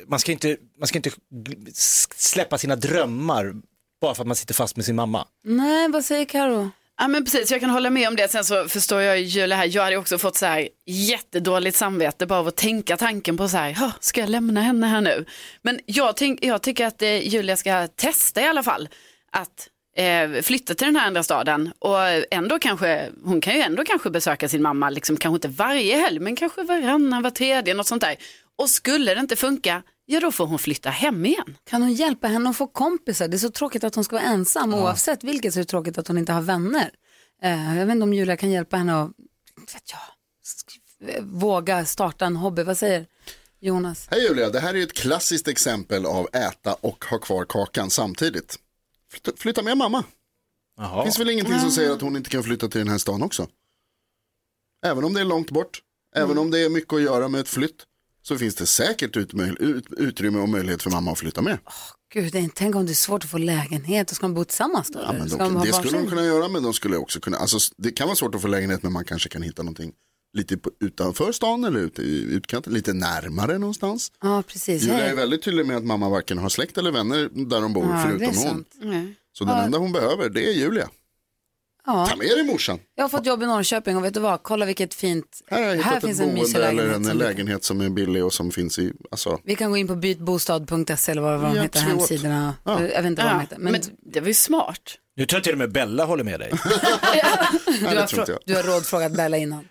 Speaker 3: man, ska inte, man ska inte gl- s- släppa sina drömmar bara för att man sitter fast med sin mamma.
Speaker 2: Nej, vad säger Karo?
Speaker 5: Ja men precis, jag kan hålla med om det. Sen så förstår jag ju det här, jag hade också fått så här jättedåligt samvete bara av att tänka tanken på så här, "Hå, ska jag lämna henne här nu? Men jag, tänk, jag tycker att eh, Julia ska testa i alla fall att eh, flytta till den här andra staden och ändå kanske, hon kan ju ändå kanske besöka sin mamma, liksom kanske inte varje helg men kanske varannan, var tredje, något sånt där. Och skulle det inte funka, ja då får hon flytta hem igen.
Speaker 2: Kan hon hjälpa henne att få kompisar? Det är så tråkigt att hon ska vara ensam. Oavsett vilket så är det tråkigt att hon inte har vänner. Eh, jag vet inte om Julia kan hjälpa henne att vet jag, sk- eh, våga starta en hobby. Vad säger Jonas?
Speaker 4: Hej Julia, det här är ju ett klassiskt exempel av äta och ha kvar kakan samtidigt. Flyt- Flytta med mamma.
Speaker 3: Jaha.
Speaker 4: Finns väl ingenting som säger att hon inte kan flytta till den här stan också? Även om det är långt bort, även
Speaker 2: Mm.
Speaker 4: om det är mycket att göra med ett flytt, så finns det säkert utmöj- ut- utrymme och möjlighet för mamma att flytta med.
Speaker 2: Gud, det är- tänk om det är svårt att få lägenhet och ska de bo tillsammans då?
Speaker 4: Ja, men
Speaker 2: ska
Speaker 4: de,
Speaker 2: ha
Speaker 4: det skulle de
Speaker 2: varsin?
Speaker 4: kunna göra, men de skulle också kunna, alltså, s- det kan vara svårt att få lägenhet, men man kanske kan hitta någonting lite på, utanför stan eller ute i utkanten, lite närmare någonstans.
Speaker 2: Ja, precis.
Speaker 4: Julia
Speaker 2: Hej.
Speaker 4: är väldigt tydlig med att mamma varken har släkt eller vänner där de bor,
Speaker 2: Ja, det är
Speaker 4: förutom hon.
Speaker 2: sant.
Speaker 4: Så den
Speaker 2: Ja.
Speaker 4: enda hon behöver, det är Julia.
Speaker 2: Ja.
Speaker 4: Ta med dig morsan.
Speaker 2: Jag har fått jobb i Norrköping och vet du vad, kolla vilket fint,
Speaker 4: Här har jag hittat
Speaker 2: finns
Speaker 4: ett
Speaker 2: en mysig
Speaker 4: boende eller
Speaker 2: lägenhet.
Speaker 4: en
Speaker 2: som-
Speaker 4: lägenhet som är billig och som finns i, alltså,
Speaker 2: Vi kan gå in på bytbostad.se eller vad, vad de
Speaker 4: Jag
Speaker 2: heter,
Speaker 4: tror att-
Speaker 2: hemsidorna.
Speaker 4: Ja.
Speaker 2: Jag vet inte vad
Speaker 5: Ja,
Speaker 2: de heter. Men,
Speaker 5: men det var ju smart.
Speaker 3: Nu tror jag till och med Bella håller med dig.
Speaker 2: du,
Speaker 4: det
Speaker 2: har
Speaker 4: tror inte
Speaker 2: frå-
Speaker 4: jag.
Speaker 2: du har rådfrågat Bella innan.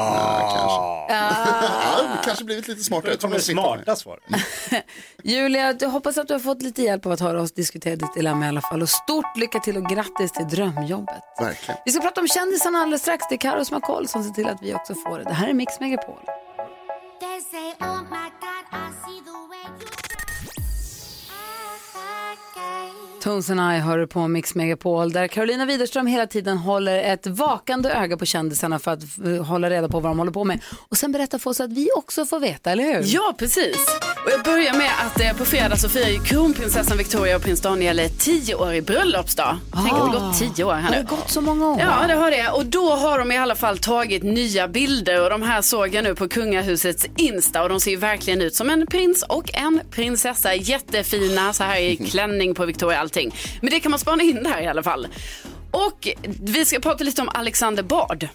Speaker 3: Ah,
Speaker 4: ja, kanske blivit lite smartare. Jag tror man sitter med.
Speaker 3: svar.
Speaker 2: [LAUGHS] Julia, jag hoppas att du har fått lite hjälp av att höra oss diskutera ditt dilemma i alla fall. Och stort lycka till och grattis till drömjobbet.
Speaker 4: Verkligen.
Speaker 2: Vi ska prata om kändisarna alldeles strax. Det är Karo som har koll som ser till att vi också får det. Det här är Mix Megapol. Tones and I hör du på Mix Megapol där Carolina Widerström hela tiden håller ett vakande öga på kändisarna för att eh, hålla reda på vad de håller på med. Och sen berätta för oss att vi också får veta, eller hur?
Speaker 5: Ja, precis. Och jag börjar med att eh, på fredag så firar ju kronprinsessan Victoria och prins Daniel ett 10-årig bröllopsdag. Tänk att det
Speaker 2: Ah.
Speaker 5: gått 10 år här
Speaker 2: Det
Speaker 5: nu.
Speaker 2: har gått så många år.
Speaker 5: Ja, det har det. Och då har de i alla fall tagit nya bilder och de här såg jag nu på kungahusets Insta och de ser ju verkligen ut som en prins och en prinsessa. Jättefina, så
Speaker 2: [LAUGHS]
Speaker 5: här i klänning på Victoria och allting. Men det kan man spana in där i alla fall. Och vi ska prata lite om Alexander Bard.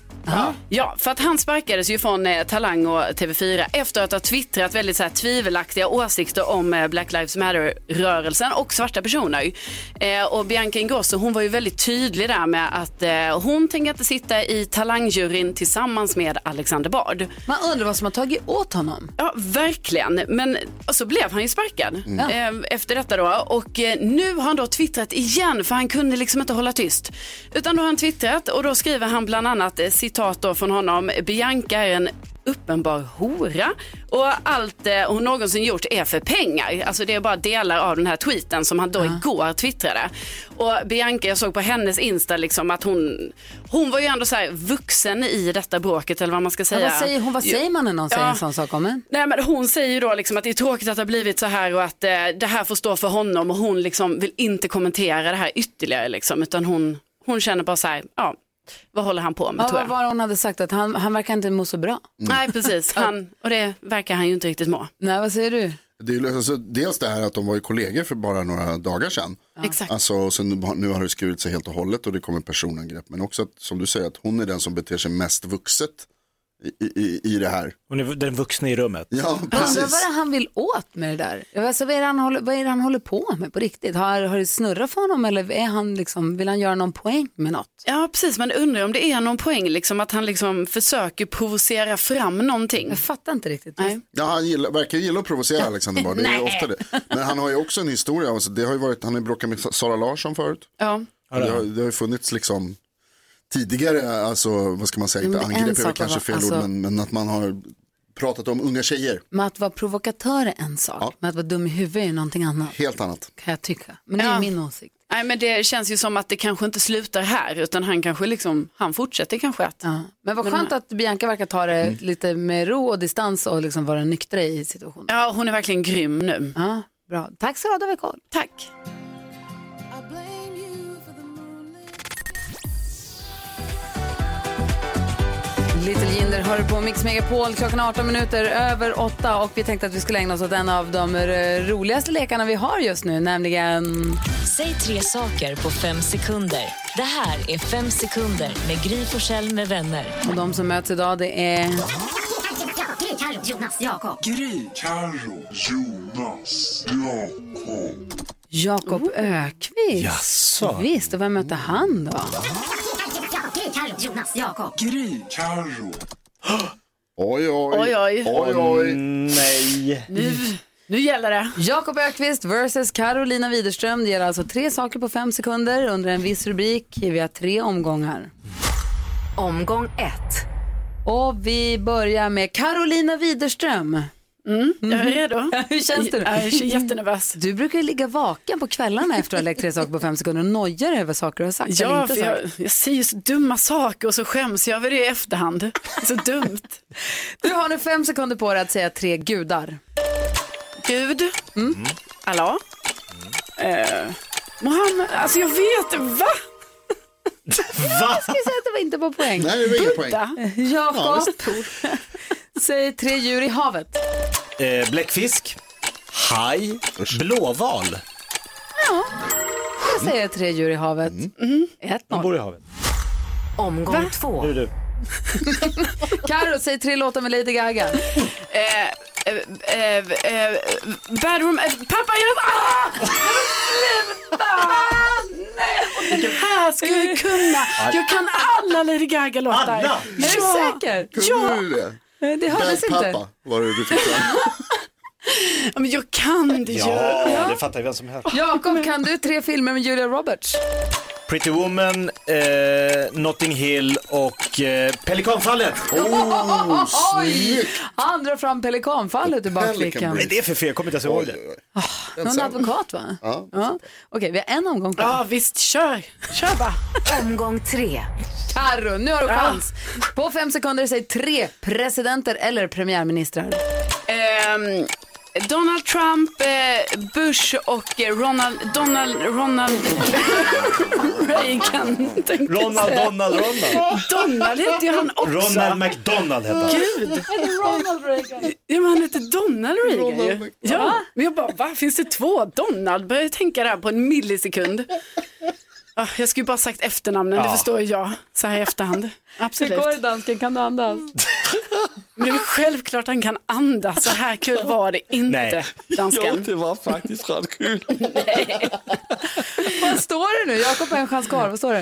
Speaker 5: Ja, för att han sparkades ju från eh, Talang och TV4 efter att ha twittrat väldigt så här, tvivelaktiga åsikter om eh, Black Lives Matter-rörelsen och svarta personer. Eh, och Bianca Ingrosso hon var ju väldigt tydlig där med att eh, hon tänker inte sitta i Talangjuryn tillsammans med Alexander Bard.
Speaker 2: Man undrar vad som har tagit åt honom.
Speaker 5: Ja, verkligen. Men och så blev han ju sparkad eh, efter detta då. Och eh, nu har han då twittrat igen för han kunde liksom inte hålla tyst. Utan då har han twittrat och då skriver han bland annat eh, citat då från honom. Bianca är en uppenbar hora och allt eh, hon någonsin gjort är för pengar. Alltså det är bara delar av den här tweeten som han då igår twittrade. Och Bianca, jag såg på hennes Insta liksom att hon, hon var ju ändå så här vuxen i detta bråket eller vad man ska
Speaker 2: Ja,
Speaker 5: säga.
Speaker 2: vad, säger hon, vad
Speaker 5: Ja.
Speaker 2: säger man när någon säger
Speaker 5: Ja.
Speaker 2: en sån sak om en?
Speaker 5: Nej, men hon säger ju då liksom att det är tråkigt att det har blivit så här och att eh, det här får stå för honom och hon liksom vill inte kommentera det här ytterligare liksom, utan hon, hon känner bara så här, ja, vad håller han på med
Speaker 2: Ja,
Speaker 5: tror
Speaker 2: vad
Speaker 5: jag. Mm.
Speaker 2: var det hon hade sagt? Att han, han verkar inte må så bra.
Speaker 5: Nej, precis, han, och det verkar han ju inte riktigt må.
Speaker 2: Nej, vad säger du?
Speaker 4: Det är, ju- alltså, dels det här att de var ju kollegor för bara några dagar sedan.
Speaker 5: Exakt.
Speaker 4: Alltså, och sen har- nu har det skurit sig helt och hållet och det kommer personangrepp. Men också att, som du säger att hon är den som beter sig mest vuxet i, i- i, i det här. [LAUGHS]
Speaker 3: Hon är den vuxna i rummet.
Speaker 4: Ja,
Speaker 2: Jag undrar vad
Speaker 4: precis.
Speaker 2: det är han vill åt med det där. Jag vet, Alltså, vad, är det han håller, vad är det han håller på med på riktigt? Har, har det snurrat för honom eller är han liksom, vill han göra någon poäng med något?
Speaker 5: Ja, precis, men undrar om det är någon poäng liksom att han liksom försöker provocera fram någonting. Jag
Speaker 2: fattar inte riktigt.
Speaker 5: Nej.
Speaker 4: Ja, han gillar, verkar gilla att provocera Alexander Bard, det är ju ofta det. Men han har ju också en historia, alltså, det har ju varit, han har ju bråkat med Sa- Sara Larsson förut.
Speaker 5: Ja.
Speaker 4: Och Det har, det har ju funnits liksom tidigare, alltså, vad ska man säga,
Speaker 2: Jo,
Speaker 4: inte
Speaker 2: men en
Speaker 4: angrepp är väl
Speaker 2: sak
Speaker 4: kanske
Speaker 2: var-
Speaker 4: fel
Speaker 2: alltså-
Speaker 4: ord, men, men att man har pratat om unga tjejer,
Speaker 2: Med att vara provokatör är en sak, men att vara dum i huvudet är ju någonting annat
Speaker 4: helt annat.
Speaker 2: kan jag tycka. Men det är
Speaker 5: Ja.
Speaker 2: min åsikt.
Speaker 5: Nej, men det känns ju som att det kanske inte slutar här, utan han kanske liksom, han fortsätter kanske att...
Speaker 2: Men vad
Speaker 5: med de
Speaker 2: skönt att Bianca verkar ta det lite med ro och distans och liksom vara nyktra i situationen.
Speaker 5: Ja, hon är verkligen grym nu.
Speaker 2: Ja, bra. Tack så du ha, då har vi koll.
Speaker 5: Tack.
Speaker 2: Little Jinder hör på Mix Megapol klockan är 18 minuter över 8 och vi tänkte att vi skulle ägna oss åt en av de eh, roligaste lekarna vi har just nu, nämligen
Speaker 17: Säg tre saker på fem sekunder. Det här är Fem sekunder med Gry Forssell med vänner.
Speaker 2: Och de som möts idag det är...
Speaker 17: Gry, Carro, Jonas, Jakob.
Speaker 10: Gry, Carro, Jonas, Jakob.
Speaker 2: Jakob Ökvist.
Speaker 10: Jaså.
Speaker 2: Visst, och vem mötte han då?
Speaker 17: Gry, Carro, Jonas, Jakob.
Speaker 10: Gry, Carro.
Speaker 4: Oj, oj.
Speaker 5: Oj, oj.
Speaker 4: oj, oj.
Speaker 3: Nej.
Speaker 5: Nu, nu gäller det.
Speaker 2: Jakob Ökvist versus Carolina Widerström. Det ger alltså tre saker på fem sekunder under en viss rubrik. Vi har tre omgångar.
Speaker 17: Omgång ett.
Speaker 2: Och vi börjar med Carolina Widerström.
Speaker 5: Jag är redo.
Speaker 2: Hur känns det? då?
Speaker 5: Jag är
Speaker 2: [LAUGHS]
Speaker 5: jättenervös.
Speaker 2: Du brukar ju ligga vaken på kvällarna efter att ha läckt tre saker på fem sekunder och nojar över saker du har sagt eller
Speaker 5: Ja,
Speaker 2: inte
Speaker 5: för
Speaker 2: sagt.
Speaker 5: jag, jag säger så dumma saker och så skäms jag över det i efterhand. Så dumt.
Speaker 2: Du har nu fem sekunder på dig att säga tre gudar.
Speaker 5: Gud. Allah. Eh, Mohammed. Alltså jag vet. Va?
Speaker 3: Va?
Speaker 2: Jag säger att det var inte på poäng.
Speaker 4: Nej, det var ingen poäng.
Speaker 2: [LAUGHS]
Speaker 4: Ja,
Speaker 2: Jakob, [LAUGHS] säg tre djur i havet.
Speaker 3: Eh, bläckfisk, haj, blåval.
Speaker 2: Jag säger tre djur i havet. Mm. Ett
Speaker 3: De
Speaker 2: noll.
Speaker 3: bor i havet.
Speaker 17: Omgång två.
Speaker 3: Nu är du.
Speaker 2: Karo, säg tre låtar med Lady Gaga.
Speaker 5: Eh, eh, eh, eh, bedroom. Eh, pappa, jag... Ah! Men Sluta! Nej, det här skulle jag kunna. Jag kan alla Lady Gaga-låtar.
Speaker 3: Alla?
Speaker 5: Ja.
Speaker 2: Är du säker?
Speaker 4: Kunde du det?
Speaker 2: Det hördes
Speaker 4: Bad
Speaker 2: inte.
Speaker 4: pappa var det du
Speaker 2: [LAUGHS]
Speaker 4: fick fram.
Speaker 5: Ja, Men jag kan det ju.
Speaker 3: Ja, det fattar ju vem som helst.
Speaker 2: Jakob, kan du tre filmer med Julia Roberts?
Speaker 3: Pretty Woman, eh, Notting Hill och eh, Pelikanfallet.
Speaker 4: Oh,
Speaker 2: Oj!
Speaker 4: snyggt.
Speaker 2: Han drar fram pelikanfallet ur bakfickan.
Speaker 3: Vad är det för fel? Jag kommer inte ens ihåg det.
Speaker 2: Ah, Någon advokat va?
Speaker 4: Ja.
Speaker 2: Ja. Okej, vi har en omgång kvar.
Speaker 5: Ja, visst. Kör. Kör bara.
Speaker 17: Omgång tre.
Speaker 2: Carro, nu har du chans. På fem sekunder, säg tre presidenter eller premiärministrar.
Speaker 5: Ehm, Donald Trump, eh, Bush och eh, Ronald, Donald, Ronald [LAUGHS] Reagan. tänkte jag
Speaker 3: Ronald,
Speaker 5: säga.
Speaker 3: Donald, Ronald.
Speaker 5: Donald hette ju han också.
Speaker 3: Ronald McDonald hette han.
Speaker 5: Gud. Ja, men han hette Donald Reagan
Speaker 4: Ronald
Speaker 5: ju.
Speaker 4: McDonald.
Speaker 5: Ja, men jag bara, va? Finns det två Donald? Började tänka där på en millisekund. Ah, Jag skulle ju bara sagt efternamnen, det
Speaker 3: Ja.
Speaker 5: förstår ju jag så här i efterhand. Absolut.
Speaker 2: dansken? Kan du andas?
Speaker 5: Men det är väl självklart han kan andas, så här kul var det inte, dansken.
Speaker 10: var faktiskt rätt kul.
Speaker 2: Vad står det nu? Jakob har en chans kvar. Vad står det?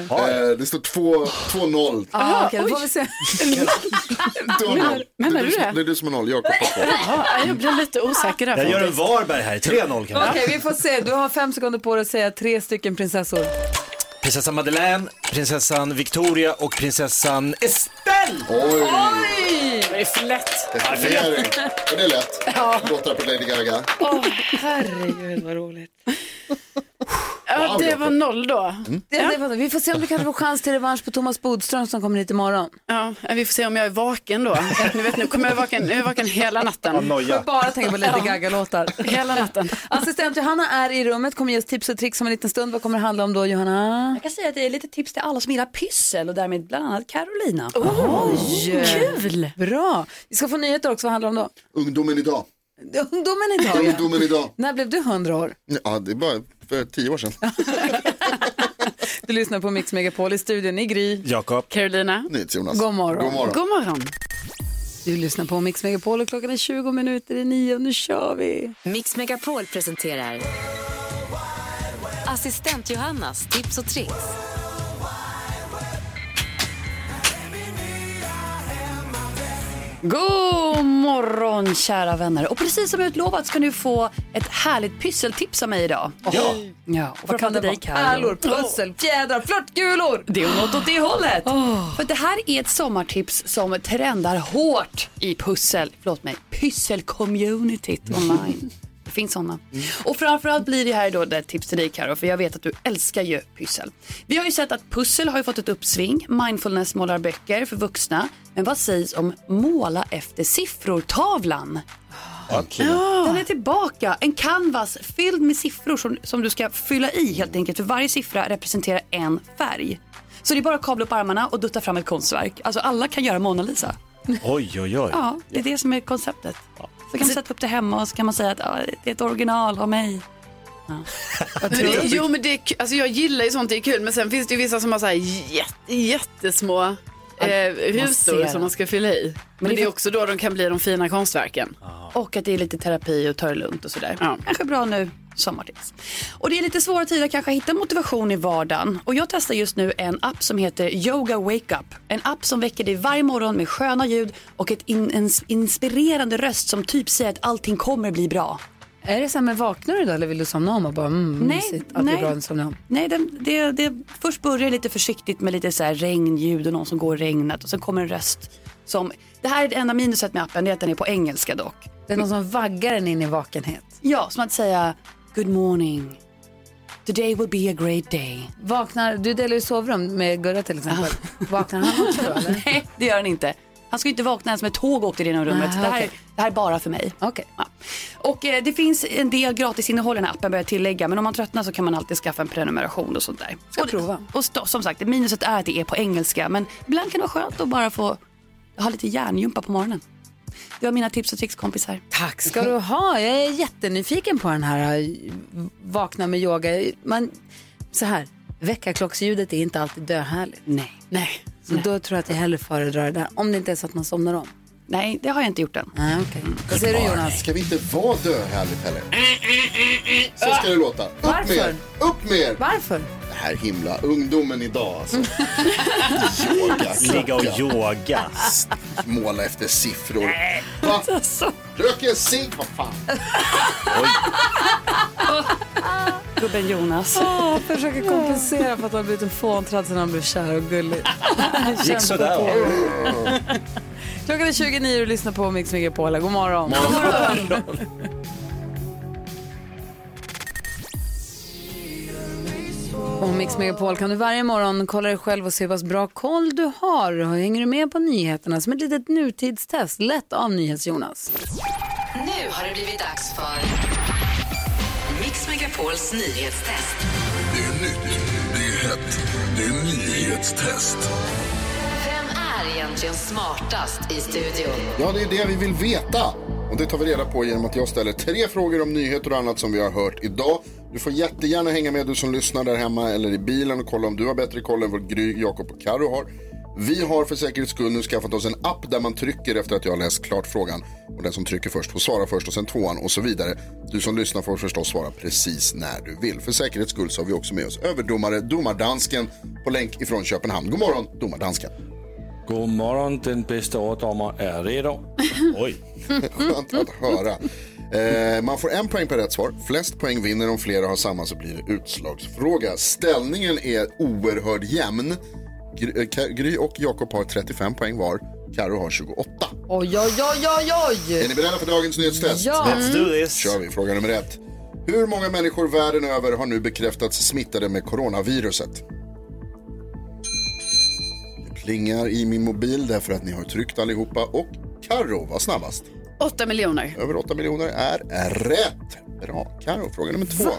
Speaker 4: Eh, det står 2 2-0.
Speaker 2: Ah, okej, då får vi se.
Speaker 4: Två noll.
Speaker 5: menar du
Speaker 4: som-
Speaker 5: det?
Speaker 4: Det är du som har noll, Jakob har två.
Speaker 5: Ja, jag blev lite osäker där.
Speaker 3: Jag gör en
Speaker 5: faktiskt.
Speaker 3: Varberg här. 3-0 kan
Speaker 2: Okej,
Speaker 3: jag.
Speaker 2: vi får se. Du har fem sekunder på dig att säga tre stycken prinsessor.
Speaker 3: Prinsessan Madeleine, prinsessan Victoria och prinsessan Estelle.
Speaker 4: Oj,
Speaker 5: Det är för lätt.
Speaker 4: definiering. Och det är lätt. Låtar på Lady Gaga.
Speaker 2: Herregud, vad roligt.
Speaker 5: Ja, det var noll då.
Speaker 3: Mm.
Speaker 2: Det, det var, vi får se om du kan få chans till revansch på Thomas Bodström som kommer hit imorgon.
Speaker 5: Ja, vi får se om jag är vaken då. Ni vet, nu kommer jag vara vaken, nu är jag vaken hela natten.
Speaker 3: Noja.
Speaker 2: Bara tänka på Lady
Speaker 18: [LAUGHS]
Speaker 2: Gaga-låtar.
Speaker 5: Hela natten.
Speaker 2: Assistent Johanna är i rummet, kommer ge oss tips och tricks om en liten stund. Vad kommer det handla om då, Johanna?
Speaker 18: Jag kan säga att det är lite tips till alla som gillar pyssel och därmed bland annat Carolina.
Speaker 2: Kul! Bra. Vi ska få nyheter också. Vad handlar det om då?
Speaker 4: Ungdomen idag.
Speaker 2: Det är Ungdomen idag. ja.
Speaker 4: Ungdomen idag.
Speaker 2: När blev du 100 år?
Speaker 4: Ja, det är bara för tio år sedan.
Speaker 2: Du lyssnar på Mix Megapol i studion i Gry.
Speaker 3: Jakob.
Speaker 5: Carolina,
Speaker 4: Nyhets, Jonas.
Speaker 2: God morgon.
Speaker 4: God morgon.
Speaker 5: god morgon.
Speaker 2: Du lyssnar på Mix Megapol och klockan är 20 minuter i nio och nu kör vi.
Speaker 17: Mix Megapol presenterar Assistent Johannas tips och tricks.
Speaker 18: God morgon kära vänner. Och precis som utlovat ska ni få ett härligt pysseltips av mig idag.
Speaker 3: Ja.
Speaker 2: Ja,
Speaker 18: Vad kan det vara?
Speaker 2: Pärlor, pussel, fjädrar, flörtgulor.
Speaker 18: Det är något åt det hållet. För det här är ett sommartips som trendar hårt i pussel, förlåt mig, pysselcommunityt online. Det finns sådana. Och framförallt blir det här då det tips till dig Karo, för jag vet att du älskar ju pyssel. Vi har ju sett att pussel har ju fått ett uppsving, mindfulness målar böcker för vuxna. Men vad sägs om måla efter siffror-tavlan? Den är tillbaka. En canvas fylld med siffror som, som du ska fylla i helt enkelt. För varje siffra representerar en färg. Så det är bara att kavla upp armarna och dutta fram ett konstverk. Alltså alla kan göra Mona Lisa.
Speaker 3: Oj, oj, oj.
Speaker 18: Ja, Alltså- det är det som är konceptet. Så kan man sätta upp det hemma och så kan man säga att ja, det är ett original av mig.
Speaker 5: Men det, jo, men det, är ku- alltså jag gillar ju sånt, det är kul. Men sen finns det ju vissa som har så här jätte, jättesmå eh, rutor
Speaker 18: ser
Speaker 5: som
Speaker 18: dem.
Speaker 5: man ska fylla i. Men,
Speaker 18: det
Speaker 5: det,
Speaker 18: är
Speaker 5: är
Speaker 18: för-
Speaker 5: också då de kan bli de fina konstverken.
Speaker 18: Och att det är lite terapi och ta det lugnt och sådär. Kanske bra nu, sommartips. Och det är lite svåra tider kanske att hitta motivation i vardagen. Och jag testar just nu en app som heter Yoga Wake Up. En app som väcker dig varje morgon med sköna ljud och ett in, en inspirerande röst som typ säger att allting kommer bli bra.
Speaker 2: Är det så här med vaknar du då eller vill du somna om och bara mm,
Speaker 18: Nej,
Speaker 2: mysigt att det
Speaker 18: nej.
Speaker 2: är bra att somna om?
Speaker 18: Nej, det, det, det, först börjar det lite försiktigt med lite så här regnljud och någon som går i regnet och sen kommer en röst som... Det här är det enda minuset med appen, det är att den är på engelska dock.
Speaker 2: Det är någon som vaggar den in i vakenhet.
Speaker 18: Ja, som att säga good morning. Today will be a great day.
Speaker 2: Vaknar, du delar ju sovrum med Gurra till exempel. Vaknar han också då [LAUGHS] eller?
Speaker 18: [LAUGHS] Nej, det gör han inte. Han ska ju inte vakna ens med tåg åkte genom rummet.
Speaker 2: Ah,
Speaker 18: det, här,
Speaker 2: okej.
Speaker 18: det här är bara för mig. Ja. Och eh, det finns en del gratisinnehåll i den här appen bör jag tillägga. Men om man tröttnar så kan man alltid skaffa en prenumeration och sånt där. Ska och, prova. Och st- som sagt, minuset är att det är på engelska. Men ibland kan det vara skönt att bara få ha lite hjärngympa på morgonen. Det var mina tips och tricks kompisar.
Speaker 2: Tack ska du ha. Jag är jättenyfiken på den här eh, vakna med yoga. Man, så här, väckarklocksljudet är inte alltid döhärligt.
Speaker 18: Nej.
Speaker 2: Nej. Så då tror jag att jag hellre föredrar det där. Om det inte är så att man somnar om.
Speaker 18: Nej, det har jag inte gjort än.
Speaker 2: Nej, okej. Vad säger du Jonas?
Speaker 4: Ska vi inte vara döhärligt heller? Så ska det låta. Upp med
Speaker 2: Varför?
Speaker 4: er! Upp med er!
Speaker 2: Varför?
Speaker 4: Det här himla ungdomen idag alltså. yoga,
Speaker 3: Ligga och
Speaker 4: yoga. Måla efter siffror. Va? Röker en cigg? Vad fan?
Speaker 18: Gubben Jonas.
Speaker 2: Åh, försöker kompensera för att han har blivit en fåntratt sedan han blev kär och gullig. Kämpa på. Klockan är 29 och du lyssnar på Mix Megapol. God morgon. På Mix Megapol kan du varje morgon kolla dig själv och se vad bra koll du har. Och Hänger du med på nyheterna som ett litet nutidstest lett av NyhetsJonas.
Speaker 7: Nu har det blivit dags för Mix Megapols nyhetstest.
Speaker 10: Det är nytt, det är hett, det är nyhetstest.
Speaker 7: Vem är egentligen smartast i studion?
Speaker 4: Ja, det är det vi vill veta. Och det tar vi reda på genom att jag ställer tre frågor om nyheter och annat som vi har hört idag. Du får jättegärna hänga med du som lyssnar där hemma eller i bilen och kolla om du har bättre koll än vad Gry, Jakob och Karo har. Vi har för säkerhets skull nu skaffat oss en app där man trycker efter att jag har läst klart frågan. Och den som trycker först får svara först och sen tvåan och så vidare. Du som lyssnar får förstås svara precis när du vill. För säkerhets skull så har vi också med oss överdomare Domardansken på länk ifrån Köpenhamn. God morgon Domardansken.
Speaker 19: God morgon, den bästa återdomaren är redo. Oj.
Speaker 4: Skönt att höra. Eh, man får en poäng per rätt svar. Flest poäng vinner om flera har samma så blir det utslagsfråga. Ställningen är oerhört jämn. Gry, eh, Ka- Gry och Jakob har 35 poäng var. Karo har 28.
Speaker 2: Oj, oj, oj, oj, oj!
Speaker 4: Är ni beredda för dagens nyhetstest?
Speaker 2: Ja. Let's do
Speaker 4: this. kör vi. Fråga nummer ett. Hur många människor världen över har nu bekräftats smittade med coronaviruset? Det plingar i min mobil därför att ni har tryckt allihopa och Karo var snabbast.
Speaker 5: 8 miljoner.
Speaker 4: Över 8 miljoner är rätt. Bra, Karo. Fråga nummer två.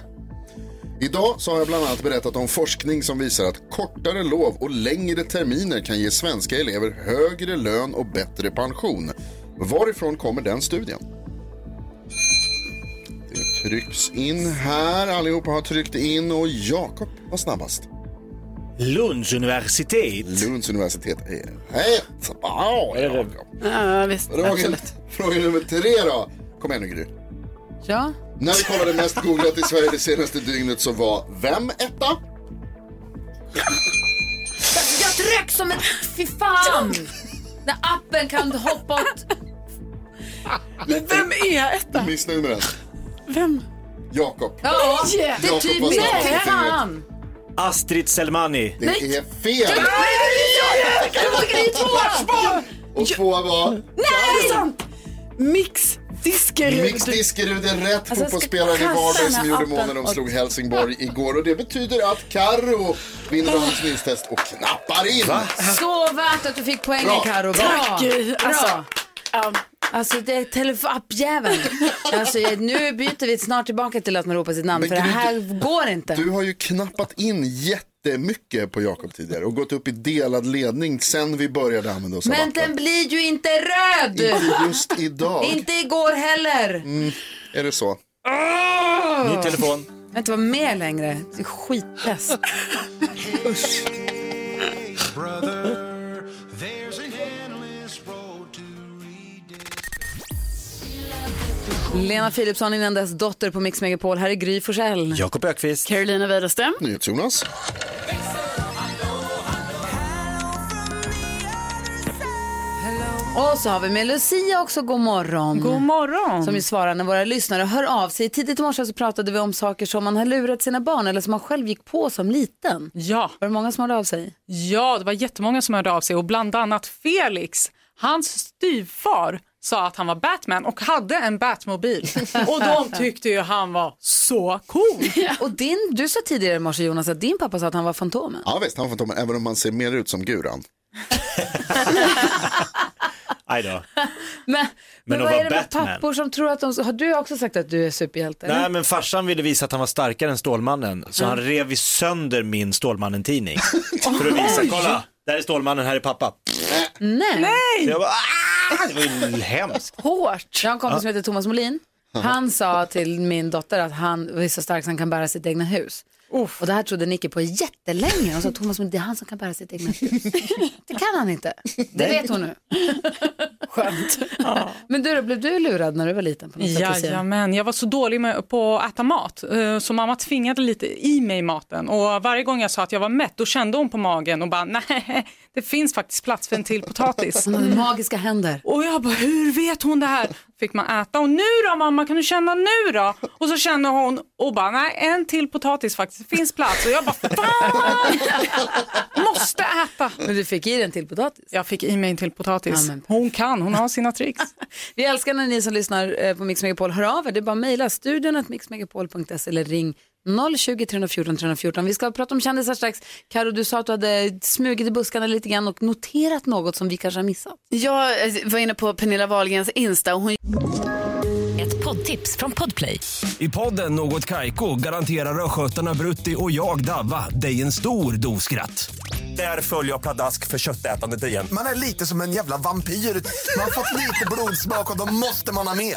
Speaker 4: Idag så har jag bland annat berättat om forskning som visar att kortare lov och längre terminer kan ge svenska elever högre lön och bättre pension. Varifrån kommer den studien? Det trycks in här. Allihopa har tryckt in och Jakob var snabbast.
Speaker 3: Lunds universitet.
Speaker 4: Lunds universitet Eh, är rätt. Wow, Jakob.
Speaker 5: Ja, visst.
Speaker 4: Fråga, fråga nummer tre då. Kom igen nu Gry.
Speaker 2: Ja.
Speaker 4: När vi kollade mest googlat i Sverige det senaste dygnet så var vem etta?
Speaker 2: Jag dröck som en... Fy fan! När appen kan hoppa åt...
Speaker 4: Men
Speaker 5: vem är etta?
Speaker 4: Missnöjd med den.
Speaker 5: Vem?
Speaker 4: Jakob.
Speaker 2: Ja, det är
Speaker 4: Jakob
Speaker 2: typ
Speaker 4: var
Speaker 2: mig.
Speaker 4: snabbast med fingret.
Speaker 2: Fan!
Speaker 3: Astrid Selmani.
Speaker 4: Det är fel. Och tvåa var
Speaker 5: Nej, det är sant! Mix Diskerud.
Speaker 4: Mix Diskerud är rätt
Speaker 5: Alltså, jag ska
Speaker 4: fotbollsspelare i
Speaker 5: kasta
Speaker 4: Varberg
Speaker 5: den
Speaker 4: som
Speaker 5: här
Speaker 4: gjorde
Speaker 5: appen
Speaker 4: mål när de
Speaker 5: åt-
Speaker 4: slog Helsingborg igår. Och det betyder att Karo vinner
Speaker 5: Äh.
Speaker 4: dagens nyhetstest och knappar in.
Speaker 2: Så värt att du fick poängen
Speaker 4: Bra.
Speaker 2: Carro. Bra.
Speaker 4: Tack, Gry.
Speaker 2: Bra.
Speaker 4: Alltså,
Speaker 2: Alltså det är telefonappjäveln. Alltså jag- nu byter vi snart tillbaka till att man ropar sitt namn
Speaker 4: Men
Speaker 2: för det
Speaker 4: Gry,
Speaker 2: här går inte.
Speaker 4: Du har ju knappat in jättemycket på Jakob tidigare och gått upp i delad ledning sen vi började använda oss av
Speaker 2: Men
Speaker 4: appen.
Speaker 2: den blir ju inte röd!
Speaker 4: Inte just idag.
Speaker 2: Inte igår heller.
Speaker 4: Mm, är det så?
Speaker 2: Åh!
Speaker 3: Ny telefon.
Speaker 2: vill inte vara med längre. Det är skitpress. Usch. Lena Philipsson, innan dess dotter på Mix Megapol. Här är Gry Forssell.
Speaker 3: Jakob Ökvist.
Speaker 5: Carolina Widerström.
Speaker 4: NyhetsJonas.
Speaker 2: Och så har vi med Lucia också, god morgon.
Speaker 12: God morgon.
Speaker 2: Som ju svarar när våra lyssnare hör av sig. Tidigt i morse så pratade vi om saker som man har lurat sina barn eller som man själv gick på som liten.
Speaker 12: Ja.
Speaker 2: Var det många som hörde av sig?
Speaker 12: Ja, det var jättemånga som hörde av sig och bland annat Felix, hans styvfar sa att han var Batman och hade en Batmobil. och de tyckte ju han var så cool.
Speaker 2: Och din, du sa tidigare i morse Jonas att din pappa sa att han var Fantomen.
Speaker 4: Ja visst, han var Fantomen, även om han ser mer ut som Guran.
Speaker 3: Aj då.
Speaker 2: [LAUGHS] Men, men,
Speaker 3: Men att
Speaker 2: vad
Speaker 3: vara
Speaker 2: är det med
Speaker 3: Batman.
Speaker 2: pappor Mm. som tror att de... Har du också sagt att du är superhjälte?
Speaker 3: Nej men farsan ville visa att han var starkare än Stålmannen så
Speaker 2: Mm.
Speaker 3: han rev sönder
Speaker 2: [LAUGHS]
Speaker 3: min Stålmannen-tidning. För att visa, kolla, där är Stålmannen, här är pappa.
Speaker 2: Nej.
Speaker 3: Så jag bara, "Ah!" det var ju hemskt.
Speaker 2: Hårt. Jag har en kompis som
Speaker 3: Ja.
Speaker 2: heter Thomas Molin. Han sa till min dotter att han är så stark så han kan bära sitt egna hus. Och det här trodde Nicky på jättelänge. Hon sa Thomas Molin, det är han som kan bära sitt egna
Speaker 3: [LAUGHS]
Speaker 2: hus. Det kan han inte. Det
Speaker 12: Nej.
Speaker 2: vet hon nu. Skönt. Men du då, blev du lurad när du var liten? På något sätt, Lucia?
Speaker 12: Jajamän, jag var så dålig med, på att äta mat eh, så mamma tvingade lite i mig maten och varje gång jag sa att jag var mätt då kände hon på magen och bara [LAUGHS] nej, det finns faktiskt plats för en till potatis.
Speaker 2: Hon hade magiska händer.
Speaker 12: [LAUGHS] Och jag bara, hur vet hon det här? Fick man äta och nu då mamma, kan du känna nu då? Och så känner hon och bara, nej en till potatis faktiskt, det finns plats. Och jag bara, fan! Måste äta!
Speaker 2: Men du fick i dig en till potatis?
Speaker 12: Jag fick i mig en till potatis.
Speaker 2: Ja, men-
Speaker 12: hon kan, hon har sina tricks.
Speaker 2: Vi älskar när ni som lyssnar eh, på Mix Megapol hör av er. Det är bara att mejla studion att mixmegapol.se eller ring 020 314 314. Vi ska prata om kändisar strax. Karo, du sa att du hade smugit i buskarna lite grann och noterat något som vi kanske har missat.
Speaker 5: Jag eh, var inne på Pernilla Wahlgrens Insta och hon...
Speaker 17: Ett poddtips från Podplay.
Speaker 20: I podden Något Kaiko garanterar östgötarna Brutti och jag, Davva, dig en stor dos skratt. Där följer jag pladask för köttätandet igen.
Speaker 21: Man är lite som en jävla vampyr. Man har fått lite blodsmak och då måste man ha mer.